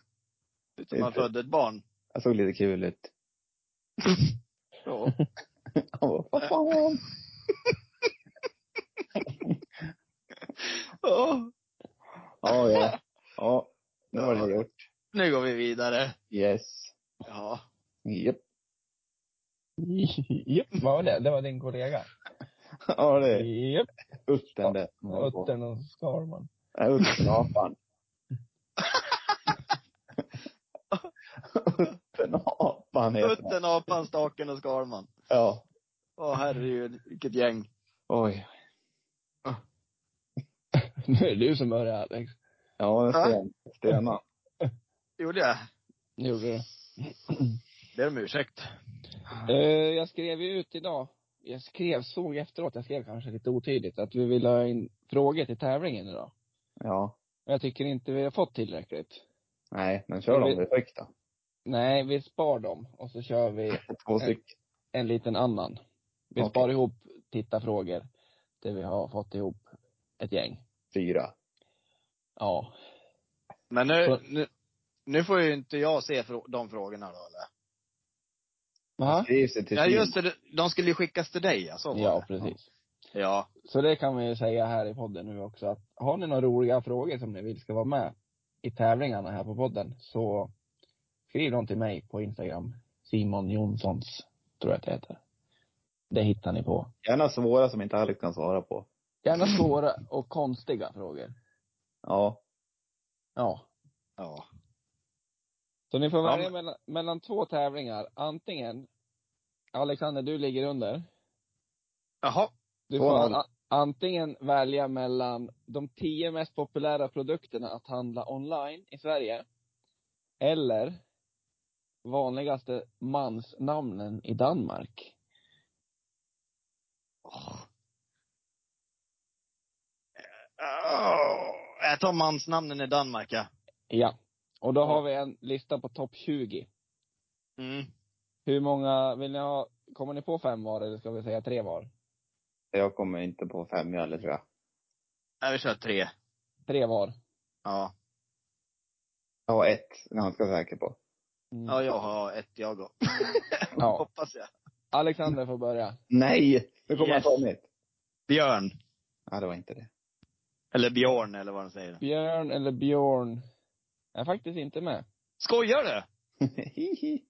[SPEAKER 2] Som man födde ett barn.
[SPEAKER 3] Jag såg lite kul ut.
[SPEAKER 2] Ja.
[SPEAKER 3] Han bara, vad fan.
[SPEAKER 2] Åh.
[SPEAKER 3] Ja, ja. Ja, nu var det gjort.
[SPEAKER 2] Nu går vi vidare.
[SPEAKER 3] Yes.
[SPEAKER 2] Ja.
[SPEAKER 3] Japp.
[SPEAKER 1] Japp, vad var det? Det var din kollega?
[SPEAKER 3] Ja, det är
[SPEAKER 1] Japp.
[SPEAKER 3] utten det.
[SPEAKER 1] Uttern och Skarman.
[SPEAKER 3] Nej, utten och apan. utten och apan heter den.
[SPEAKER 2] Utten, apan, staken och skalman.
[SPEAKER 3] Ja.
[SPEAKER 2] Åh herregud, vilket gäng.
[SPEAKER 3] Oj.
[SPEAKER 1] Nu är det du som börjar Alex.
[SPEAKER 3] Ja, en sten. Stena.
[SPEAKER 2] Gjorde jag?
[SPEAKER 1] Gjorde du?
[SPEAKER 2] Det är om ursäkt.
[SPEAKER 1] Eh, Jag skrev ju ut idag. Jag skrev, såg efteråt, jag skrev kanske lite otydligt, att vi vill ha in frågor till tävlingen idag.
[SPEAKER 3] Ja.
[SPEAKER 1] Men jag tycker inte vi har fått tillräckligt.
[SPEAKER 3] Nej, men kör dem direkt då.
[SPEAKER 1] Nej, vi spar dem och så kör vi
[SPEAKER 3] Två stycken.
[SPEAKER 1] en liten annan. Vi
[SPEAKER 3] Okej.
[SPEAKER 1] spar ihop tittarfrågor där vi har fått ihop ett gäng.
[SPEAKER 3] Fyra.
[SPEAKER 1] Ja.
[SPEAKER 2] Men nu,
[SPEAKER 1] Så-
[SPEAKER 2] nu, nu får ju inte jag se frå- de frågorna då eller?
[SPEAKER 1] Va?
[SPEAKER 3] Skrivs det till
[SPEAKER 2] Ja
[SPEAKER 3] Kina.
[SPEAKER 2] just det, de skulle ju skickas till dig ja, så var
[SPEAKER 1] Ja,
[SPEAKER 2] det.
[SPEAKER 1] precis.
[SPEAKER 2] Ja.
[SPEAKER 1] Så det kan vi ju säga här i podden nu också att har ni några roliga frågor som ni vill ska vara med i tävlingarna här på podden så skriv dem till mig på Instagram. Simon Jonssons, tror jag att det heter. Det hittar ni på.
[SPEAKER 3] Gärna svåra som inte Alex kan svara på.
[SPEAKER 1] Gärna svåra och konstiga frågor.
[SPEAKER 3] Ja.
[SPEAKER 1] Ja.
[SPEAKER 2] Ja.
[SPEAKER 1] Så ni får
[SPEAKER 2] Ja,
[SPEAKER 1] välja
[SPEAKER 2] men-
[SPEAKER 1] mellan, mellan två tävlingar. Antingen, Alexander du ligger under.
[SPEAKER 2] Jaha.
[SPEAKER 1] Du
[SPEAKER 3] Två
[SPEAKER 1] får
[SPEAKER 3] noll.
[SPEAKER 1] a- antingen välja mellan de tio mest populära produkterna att handla online i Sverige, eller vanligaste mansnamnen i Danmark.
[SPEAKER 2] Åh. Åh, Jag tar mansnamnen i Danmark, ja.
[SPEAKER 1] Ja. Och då
[SPEAKER 2] Ja.
[SPEAKER 1] har vi en lista på topp 20.
[SPEAKER 2] Mm.
[SPEAKER 1] Hur många, vill ni ha, kommer ni på fem var eller ska vi säga tre var?
[SPEAKER 3] Jag kommer inte på fem jag heller tror jag.
[SPEAKER 2] Ja, vi kör tre.
[SPEAKER 1] Tre var.
[SPEAKER 2] Ja.
[SPEAKER 3] Jag har ett, ganska säker på.
[SPEAKER 1] Mm.
[SPEAKER 2] ja, jag har ett jag går.
[SPEAKER 1] Ja.
[SPEAKER 2] Hoppas jag.
[SPEAKER 1] Alexander får börja.
[SPEAKER 3] Nej! Nu kommer
[SPEAKER 2] Yes.
[SPEAKER 3] jag ta mitt.
[SPEAKER 2] Björn.
[SPEAKER 3] Ja, det var inte det.
[SPEAKER 2] Eller Björn eller vad de säger.
[SPEAKER 1] Björn eller Björn? Jag är faktiskt inte med.
[SPEAKER 2] Skojar du?
[SPEAKER 3] Hihi.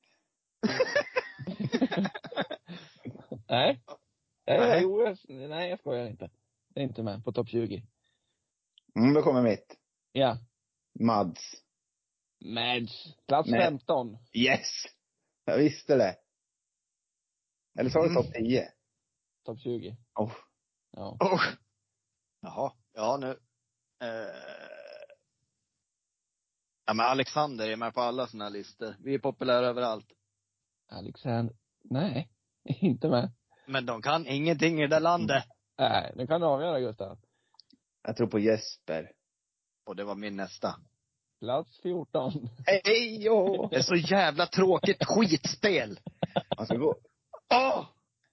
[SPEAKER 1] Nej.
[SPEAKER 2] Nej.
[SPEAKER 1] Nej. Jo, jag, nej, jag skojar inte. Det är inte med på topp 20.
[SPEAKER 3] mm, då kommer mitt.
[SPEAKER 1] Ja.
[SPEAKER 3] Mads.
[SPEAKER 1] Mads. Plats
[SPEAKER 3] Nej.
[SPEAKER 1] 15.
[SPEAKER 3] Yes! Jag visste det. Eller sa du
[SPEAKER 2] Mm.
[SPEAKER 3] topp 10?
[SPEAKER 1] Topp 20.
[SPEAKER 3] Oh.
[SPEAKER 1] Ja.
[SPEAKER 2] Oh. Jaha. Ja, nu. Eh. Ja, men Alexander är med på alla såna här listor. Vi är populära överallt.
[SPEAKER 1] Alexander. Nej. Inte med.
[SPEAKER 2] Men de kan ingenting i det landet.
[SPEAKER 1] Nej, nu kan du avgöra Gustav.
[SPEAKER 3] Jag tror på Jesper.
[SPEAKER 2] Och det var min nästa.
[SPEAKER 1] Plats 14.
[SPEAKER 3] Hej jo!
[SPEAKER 2] Det är så jävla tråkigt skitspel.
[SPEAKER 3] Man ska gå.
[SPEAKER 2] Åh!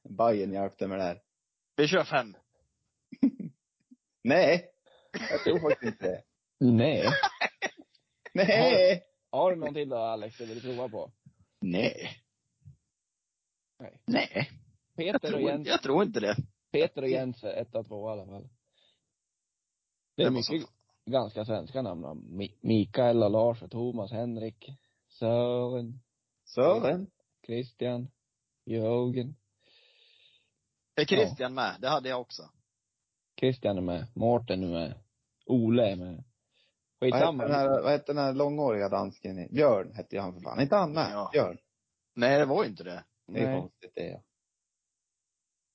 [SPEAKER 3] Bajen hjälpte med det här.
[SPEAKER 2] Vi kör fem.
[SPEAKER 3] Nej! Jag tror faktiskt inte det.
[SPEAKER 1] Nej.
[SPEAKER 3] Nej!
[SPEAKER 1] Har du någon till då Alex, du vill prova på?
[SPEAKER 2] Nej.
[SPEAKER 1] Nej.
[SPEAKER 2] Nej. Jag
[SPEAKER 1] Peter och
[SPEAKER 2] tror,
[SPEAKER 1] Jens,
[SPEAKER 2] jag tror inte det.
[SPEAKER 1] Peter och Jens är ett av två i alla fall. Det är
[SPEAKER 2] Det var så
[SPEAKER 1] mycket ganska svenska namn då. Mi- Mikael och Lars och Thomas, Henrik, Sören,
[SPEAKER 3] Sören.
[SPEAKER 1] Christian, Jörgen.
[SPEAKER 2] Är Christian med? Det hade jag också.
[SPEAKER 1] Christian är med, Mårten är med, Ole är med.
[SPEAKER 3] Vad hette, den
[SPEAKER 1] Skitsamma.
[SPEAKER 3] här, vad hette den här långhåriga dansken? i- Björn hette ju han för fan. Inte han med?
[SPEAKER 2] Ja.
[SPEAKER 3] Björn.
[SPEAKER 2] Nej, det var ju inte det.
[SPEAKER 3] Det är
[SPEAKER 1] Nej.
[SPEAKER 3] konstigt det ja.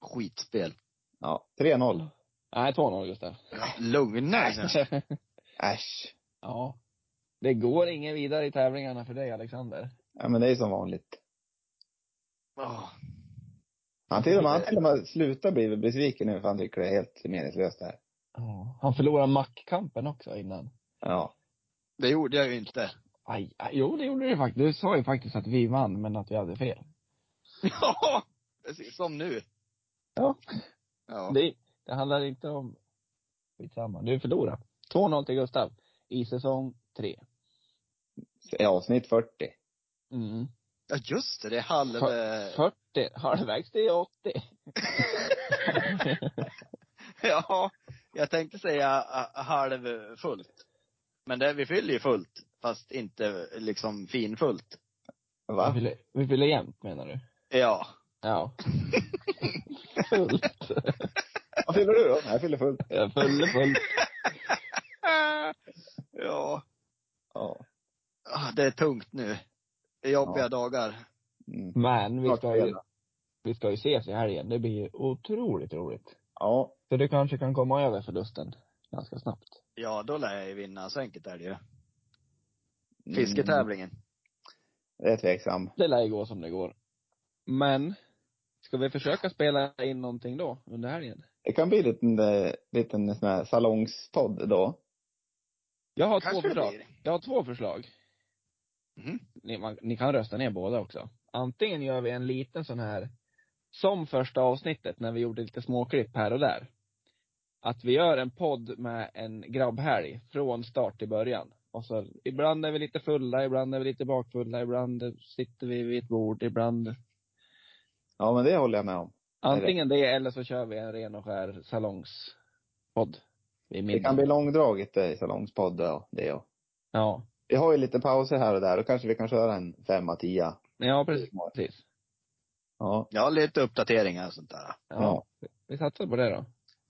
[SPEAKER 2] Skitspel.
[SPEAKER 3] Ja. 3-0.
[SPEAKER 1] Nej, 2-0 Gustav.
[SPEAKER 2] Lugna er.
[SPEAKER 3] Äsch.
[SPEAKER 1] ja. Det går ingen vidare i tävlingarna för dig Alexander.
[SPEAKER 3] Ja men det är som vanligt.
[SPEAKER 2] Åh.
[SPEAKER 3] Han till och med, han till och med slutar bli besviken nu för han tycker det är helt meningslöst det här.
[SPEAKER 1] Ja. Han förlorade mackkampen också innan.
[SPEAKER 3] Ja.
[SPEAKER 2] Det gjorde jag ju inte.
[SPEAKER 1] Aj, aj, jo det gjorde du faktiskt. Du sa ju faktiskt att vi vann, men att vi hade fel.
[SPEAKER 2] Ja, precis som nu.
[SPEAKER 1] Ja.
[SPEAKER 2] Ja.
[SPEAKER 1] Det, det handlar inte om... Skitsamma, du förlorar. 2-0 till Gustav. I säsong tre.
[SPEAKER 3] I avsnitt 40.
[SPEAKER 1] Mm.
[SPEAKER 2] Ja, just det. Det är halv... eh,
[SPEAKER 1] 40, halvvägs till 80.
[SPEAKER 2] Ja, jag tänkte säga eh, halvfullt. Men det, vi fyller ju fullt. Fast inte liksom finfullt.
[SPEAKER 1] Vi
[SPEAKER 3] Va?
[SPEAKER 1] fyller, vi fyller jämnt menar du?
[SPEAKER 2] Ja.
[SPEAKER 1] Ja. fullt.
[SPEAKER 3] Vad fyller du då? Nej, Jag fyller fullt.
[SPEAKER 1] Jag fyller fullt.
[SPEAKER 2] Ja.
[SPEAKER 3] Ja.
[SPEAKER 2] Ah, Det är tungt nu. Det är jobbiga
[SPEAKER 3] Ja.
[SPEAKER 2] dagar.
[SPEAKER 3] Mm.
[SPEAKER 1] Men vi
[SPEAKER 3] Snart
[SPEAKER 1] ska ju,
[SPEAKER 3] fredag.
[SPEAKER 1] vi ska ju ses i helgen. Det blir ju otroligt roligt.
[SPEAKER 3] Ja.
[SPEAKER 1] Så du kanske kan komma över förlusten ganska snabbt.
[SPEAKER 2] Ja, då lär jag ju vinna. Så enkelt är det ju.
[SPEAKER 3] Mm.
[SPEAKER 2] Fisketävlingen.
[SPEAKER 3] Det är tveksam.
[SPEAKER 1] Det lär ju gå som det går. Men, ska vi försöka spela in någonting då, under helgen?
[SPEAKER 3] Det kan bli en liten, eh, liten sån här salongspodd då.
[SPEAKER 1] Jag har två
[SPEAKER 2] Kanske det
[SPEAKER 1] förslag.
[SPEAKER 2] blir.
[SPEAKER 1] Jag har två förslag.
[SPEAKER 2] Mhm.
[SPEAKER 1] Ni, man, ni kan rösta ner båda också. Antingen gör vi en liten sån här, som första avsnittet när vi gjorde lite småklipp här och där. Att vi gör en podd med en grabbhelg från start till början. Och så, ibland är vi lite fulla, ibland är vi lite bakfulla, ibland sitter vi vid ett bord, ibland
[SPEAKER 3] Ja, men det håller jag med om.
[SPEAKER 1] Antingen det eller så kör vi en ren och skär salongspodd. I
[SPEAKER 3] Det kan bli långdraget eh, i salongspodd då, det ja.
[SPEAKER 1] Ja.
[SPEAKER 3] Vi har ju lite pauser här och där, då kanske vi kan köra en femma, tia.
[SPEAKER 1] Ja, precis.
[SPEAKER 3] Ja.
[SPEAKER 2] Ja, lite uppdateringar och sånt där.
[SPEAKER 1] Ja. Vi satsar på det då.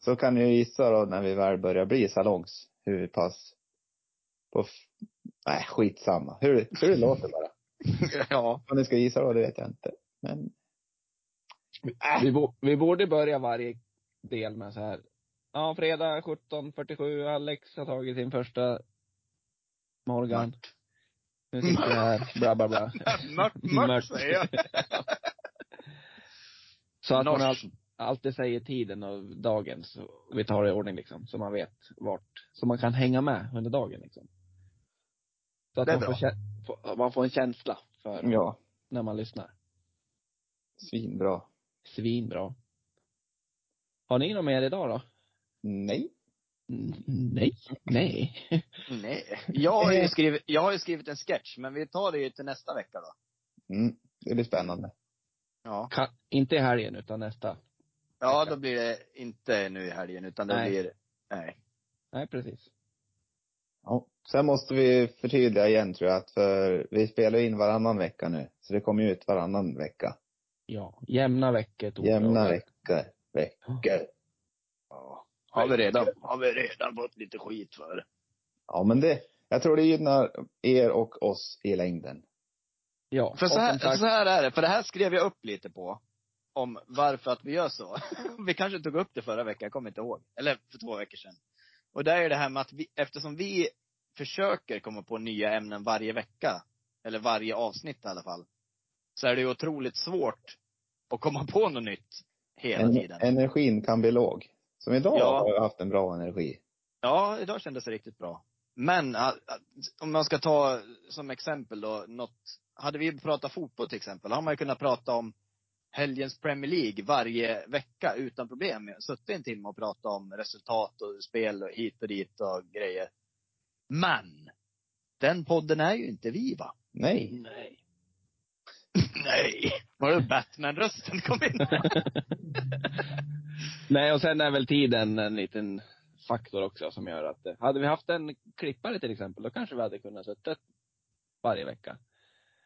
[SPEAKER 3] Så kan ni ju gissa då när vi väl börjar bli salongs, hur pass på f- nej, skitsamma. Hur, hur det låter bara.
[SPEAKER 2] ja.
[SPEAKER 3] Vad ni ska gissa då, det vet jag inte. Men
[SPEAKER 1] Vi, bo, vi borde börja varje del med så här. Ja, fredag 17.47, Alex har tagit sin första Morgan. Nu sitter vi här, bla bla bla.
[SPEAKER 2] Mört, mört säger jag.
[SPEAKER 1] Så att man
[SPEAKER 2] Norsk.
[SPEAKER 1] alltid, alltid säger tiden och dagen, så vi tar det i ordning liksom. Så man vet vart, så man kan hänga med under dagen liksom. Så att
[SPEAKER 2] Det är
[SPEAKER 1] man får,
[SPEAKER 2] bra.
[SPEAKER 1] kä- får- man får en känsla för
[SPEAKER 3] Ja,
[SPEAKER 1] när man lyssnar.
[SPEAKER 3] svinbra.
[SPEAKER 1] Svinbra. Har ni något mer idag då?
[SPEAKER 3] Nej.
[SPEAKER 1] N- Nej. Nej.
[SPEAKER 2] Nej. Jag har, ju skrivit, jag har ju skrivit en sketch, men vi tar det ju till nästa vecka då.
[SPEAKER 3] Mm. Det blir spännande.
[SPEAKER 2] Ja.
[SPEAKER 1] Kan, inte i helgen utan nästa.
[SPEAKER 2] Ja, då blir det inte nu i helgen, utan det
[SPEAKER 1] Nej.
[SPEAKER 2] blir, nej.
[SPEAKER 1] Nej, precis.
[SPEAKER 3] Ja. Sen måste vi förtydliga igen tror jag, att för vi spelar in varannan vecka nu. Så det kommer ut varannan vecka.
[SPEAKER 1] Ja. Jämna veckor. tog det.
[SPEAKER 3] Jämna veckor. Veckor.
[SPEAKER 2] Ja. Har vi redan, har vi redan fått lite skit för.
[SPEAKER 3] Ja, men det, jag tror det gynnar er och oss i längden.
[SPEAKER 1] Ja.
[SPEAKER 2] För så
[SPEAKER 1] och
[SPEAKER 2] här,
[SPEAKER 1] som sagt-
[SPEAKER 2] så här är det, för det här skrev jag upp lite på. Om varför att vi gör så. vi kanske tog upp det förra veckan, jag kommer inte ihåg. Eller för två veckor sedan. Och det är ju det här med att vi, eftersom vi försöker komma på nya ämnen varje vecka, eller varje avsnitt i alla fall, så är det ju otroligt svårt att komma på något nytt hela
[SPEAKER 3] En,
[SPEAKER 2] tiden.
[SPEAKER 3] energin kan bli låg. Som idag
[SPEAKER 2] Ja.
[SPEAKER 3] har jag haft en bra energi.
[SPEAKER 2] Ja, idag kändes det riktigt bra. Men ah, ah, om man ska ta som exempel då, något, hade vi pratat fotboll till exempel, då har man ju kunnat prata om helgens Premier League varje vecka utan problem. Jag har Suttit en timme och pratat om resultat och spel och hit och dit och grejer. Men! Den podden är ju inte vi va?
[SPEAKER 3] Nej.
[SPEAKER 1] Nej.
[SPEAKER 2] Nej! Var det Batman-rösten kom in?
[SPEAKER 1] Nej, och sen är väl tiden en liten faktor också som gör att, eh, hade vi haft en klippare till exempel, då kanske vi hade kunnat suttit varje vecka.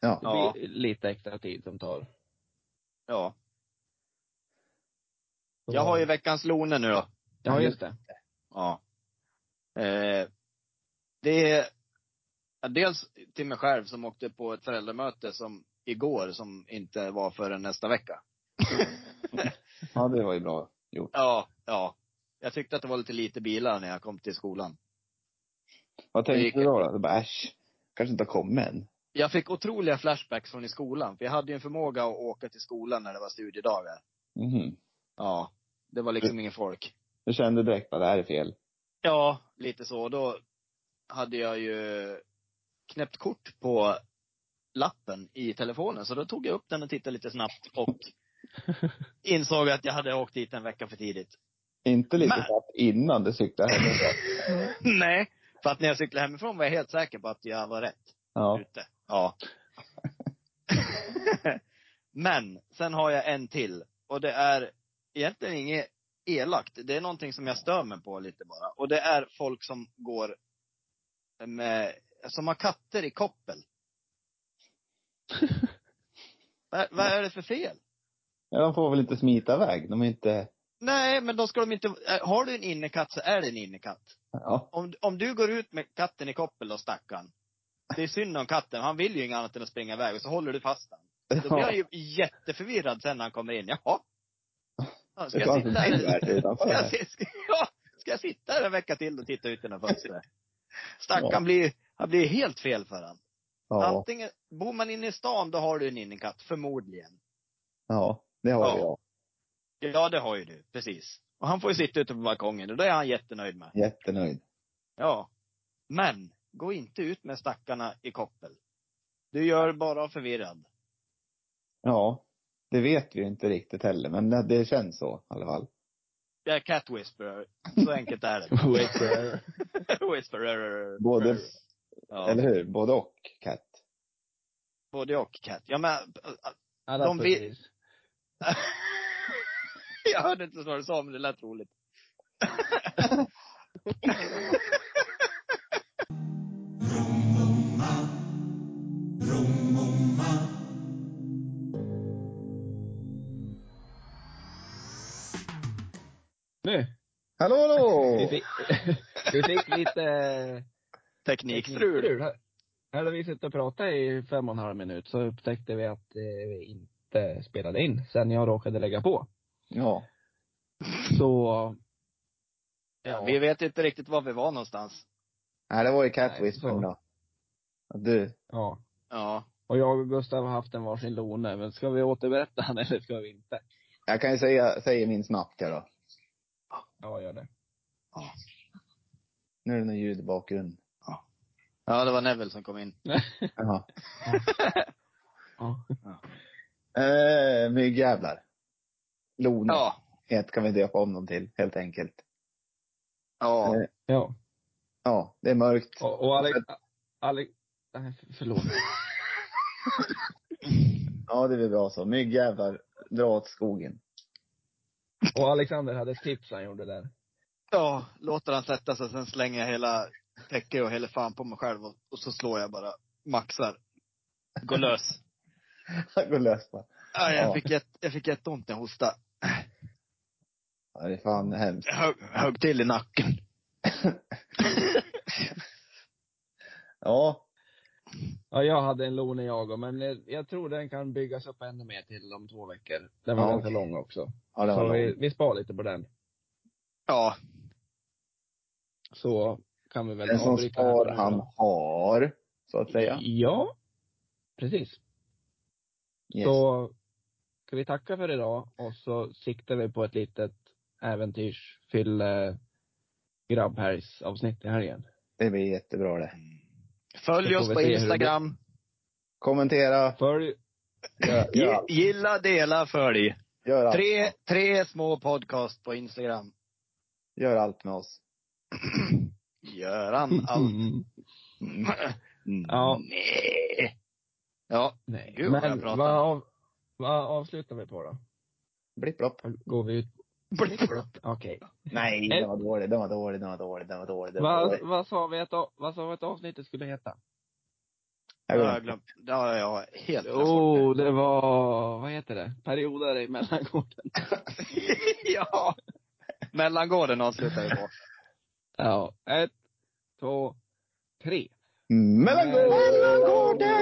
[SPEAKER 3] Ja.
[SPEAKER 1] Det
[SPEAKER 2] Ja.
[SPEAKER 1] blir lite extra tid som tar.
[SPEAKER 2] Ja. Jag har ju veckans Lone nu då.
[SPEAKER 1] Ja, just det.
[SPEAKER 2] Ja. Eh, det är ja, dels till mig själv som åkte på ett föräldramöte som igår som inte var förrän nästa vecka.
[SPEAKER 3] Ja, det var ju bra gjort.
[SPEAKER 2] Ja, ja. Jag tyckte att det var lite lite bilar när jag kom till skolan.
[SPEAKER 3] Vad
[SPEAKER 2] gick-
[SPEAKER 3] tänkte du då? då? Du bara, äsch, kanske inte har kommit än.
[SPEAKER 2] Jag fick otroliga flashbacks från i skolan, för jag hade ju en förmåga att åka till skolan när det var studiedagar.
[SPEAKER 3] Mhm.
[SPEAKER 2] Ja. Det var liksom ingen folk.
[SPEAKER 3] Du kände direkt att det här är fel.
[SPEAKER 2] Ja, lite så. Då hade jag ju knäppt kort på lappen i telefonen. Så då tog jag upp den och tittade lite snabbt och insåg att jag hade åkt dit en vecka för tidigt.
[SPEAKER 3] Inte lite
[SPEAKER 2] Men-
[SPEAKER 3] snabbt innan du cyklade hem.
[SPEAKER 2] Nej. För att när jag cyklade hemifrån var jag helt säker på att jag var rätt
[SPEAKER 3] Ja.
[SPEAKER 2] ute. Ja. Men, sen har jag en till. Och det är egentligen inget elakt. Det är någonting som jag stör mig på lite bara. Och det är folk som går med, som har katter i koppel. vad, vad är det för fel?
[SPEAKER 3] ja. De får väl inte smita iväg. De är inte,
[SPEAKER 2] Nej, men då ska de inte, eh, har du en innekatt så är det en innekatt.
[SPEAKER 3] ja.
[SPEAKER 2] om, om du går ut med katten i koppel och stackaren. Det är synd om katten, han vill ju inget annat än att springa iväg och så håller du fast han. Då blir han ju jätteförvirrad sen när han kommer in. Jaha. Ja, Ska
[SPEAKER 3] Det
[SPEAKER 2] jag
[SPEAKER 3] fanns
[SPEAKER 2] sitta
[SPEAKER 3] en bild
[SPEAKER 2] här,
[SPEAKER 3] här utanför.
[SPEAKER 2] ska jag,
[SPEAKER 3] här.
[SPEAKER 2] si- ska, ja, ska jag sitta här en vecka till och titta ut genom fönstret? Stackaren blir, han blir helt fel för han.
[SPEAKER 3] Ja.
[SPEAKER 2] Antingen, bor man inne i stan då har du en innekatt, förmodligen.
[SPEAKER 3] Ja. Det har
[SPEAKER 2] Ja.
[SPEAKER 3] jag.
[SPEAKER 2] Ja, det har ju du, precis. Och han får ju sitta ute på balkongen och det är han jättenöjd med.
[SPEAKER 3] Jättenöjd.
[SPEAKER 2] Ja. Men, gå inte ut med stackarna i koppel. Du gör bara förvirrad.
[SPEAKER 3] Ja. Det vet vi ju inte riktigt heller, men det, det känns så i alla fall.
[SPEAKER 2] Jag är cat whisperer. Så enkelt är det.
[SPEAKER 1] Whisperer.
[SPEAKER 2] whisperer.
[SPEAKER 3] Både,
[SPEAKER 2] Ja.
[SPEAKER 3] eller hur? Både och, Kat.
[SPEAKER 2] Både och cat. Ja men,
[SPEAKER 1] Alla
[SPEAKER 2] De vet-
[SPEAKER 1] precis.
[SPEAKER 2] jag hörde inte vad du sa men det lät roligt.
[SPEAKER 1] Nu!
[SPEAKER 3] Hallå, hallå!
[SPEAKER 1] Vi fick, vi fick lite eh,
[SPEAKER 2] Teknikstrul.
[SPEAKER 1] Här hade vi suttit och pratat i fem och en halv minut, så upptäckte vi att eh, vi inte inte spelade in sen jag råkade lägga på.
[SPEAKER 3] Ja.
[SPEAKER 1] Så,
[SPEAKER 2] Ja, vi vet inte riktigt var vi var någonstans.
[SPEAKER 3] Nej, det var ju Cat
[SPEAKER 1] Nej,
[SPEAKER 3] Whisperer
[SPEAKER 1] så.
[SPEAKER 3] då. Att Du,
[SPEAKER 1] ja.
[SPEAKER 2] Ja.
[SPEAKER 1] Och jag och Gustav har haft en varsin lone, men ska vi återberätta han eller ska vi inte?
[SPEAKER 3] jag kan ju säga, säga min snabbt här då.
[SPEAKER 1] Ja, gör det.
[SPEAKER 3] Nu är det något ljud i bakgrunden.
[SPEAKER 2] Ja, det var Neville som kom in.
[SPEAKER 3] Mm. Jaha.
[SPEAKER 1] Ja.
[SPEAKER 3] Eh, myggjävlar. Lone
[SPEAKER 2] Ja.
[SPEAKER 3] het kan vi döpa om dem till, helt enkelt.
[SPEAKER 2] Ja.
[SPEAKER 3] Eh,
[SPEAKER 1] ja.
[SPEAKER 3] Ja, det är mörkt.
[SPEAKER 1] Och, och Alex, Alex, nej, förlåt.
[SPEAKER 3] Ja, det är väl bra så. Myggjävlar, dra åt skogen.
[SPEAKER 1] Och Alexander hade ett tips han gjorde där.
[SPEAKER 2] Ja, låter han sätta sig, sen slänger jag hela täcket och hela fan på mig själv och, och så slår jag bara. Maxar. Går lös.
[SPEAKER 3] Gå lös bara.
[SPEAKER 2] Ja, jag,
[SPEAKER 3] Ja.
[SPEAKER 2] fick jätte, jag fick jätteont när jag hostade.
[SPEAKER 3] Ja, det är fan hemskt.
[SPEAKER 2] Jag högg, högg till i nacken.
[SPEAKER 3] Ja,
[SPEAKER 1] Ja, jag hade en lone jag och, men eh, jag tror den kan byggas upp ännu mer till om två veckor. Den var
[SPEAKER 3] Ja,
[SPEAKER 1] ganska
[SPEAKER 3] okej.
[SPEAKER 1] lång också.
[SPEAKER 3] ja det
[SPEAKER 1] Så
[SPEAKER 3] var
[SPEAKER 1] vi,
[SPEAKER 3] långt.
[SPEAKER 1] vi spar lite på den.
[SPEAKER 2] Ja.
[SPEAKER 1] Så kan vi väl
[SPEAKER 3] Den som
[SPEAKER 1] avbryta här för
[SPEAKER 3] spar
[SPEAKER 1] nu då. Mm.
[SPEAKER 3] han har, så att säga.
[SPEAKER 1] Ja. Precis.
[SPEAKER 3] Yes.
[SPEAKER 1] Så ska vi tacka för idag och så siktar vi på ett litet äventyrsfylle grabbhelgsavsnitt i helgen.
[SPEAKER 3] Det blir jättebra det.
[SPEAKER 1] Så får
[SPEAKER 2] Följ oss
[SPEAKER 1] vi
[SPEAKER 2] på
[SPEAKER 1] se hur det
[SPEAKER 2] Instagram.
[SPEAKER 3] Kommentera,
[SPEAKER 1] Följ,
[SPEAKER 3] gör,
[SPEAKER 2] Gi-
[SPEAKER 3] gör,
[SPEAKER 2] Gilla, dela, följ.
[SPEAKER 3] gör, allt,
[SPEAKER 2] Tre, tre små podcast på Instagram.
[SPEAKER 3] gör allt med oss. Mm.
[SPEAKER 2] Göran allt.
[SPEAKER 1] Ja.
[SPEAKER 2] Nej. Ja.
[SPEAKER 1] Nej.
[SPEAKER 2] Gud, vad
[SPEAKER 1] Men
[SPEAKER 2] jag pratar.
[SPEAKER 1] vad, av, vad avslutar vi på då?
[SPEAKER 3] Blipp, blopp.
[SPEAKER 1] Går vi ut? Okej.
[SPEAKER 3] Nej, den var dålig, den var dålig, den var dålig, den var dålig. Den var
[SPEAKER 1] Vad,
[SPEAKER 3] dålig.
[SPEAKER 1] vad sa vi att, av- vad sa vi att avsnittet skulle heta?
[SPEAKER 2] Det
[SPEAKER 3] Jag
[SPEAKER 2] har jag
[SPEAKER 3] glömde.
[SPEAKER 2] glömt. Det har jag helt glömt bort.
[SPEAKER 1] Jo, det var, vad heter det? Perioder i mellangården.
[SPEAKER 2] ja. Mellangården avslutar vi på.
[SPEAKER 1] Ja. Ett, två, tre.
[SPEAKER 3] Mm, Mellangården!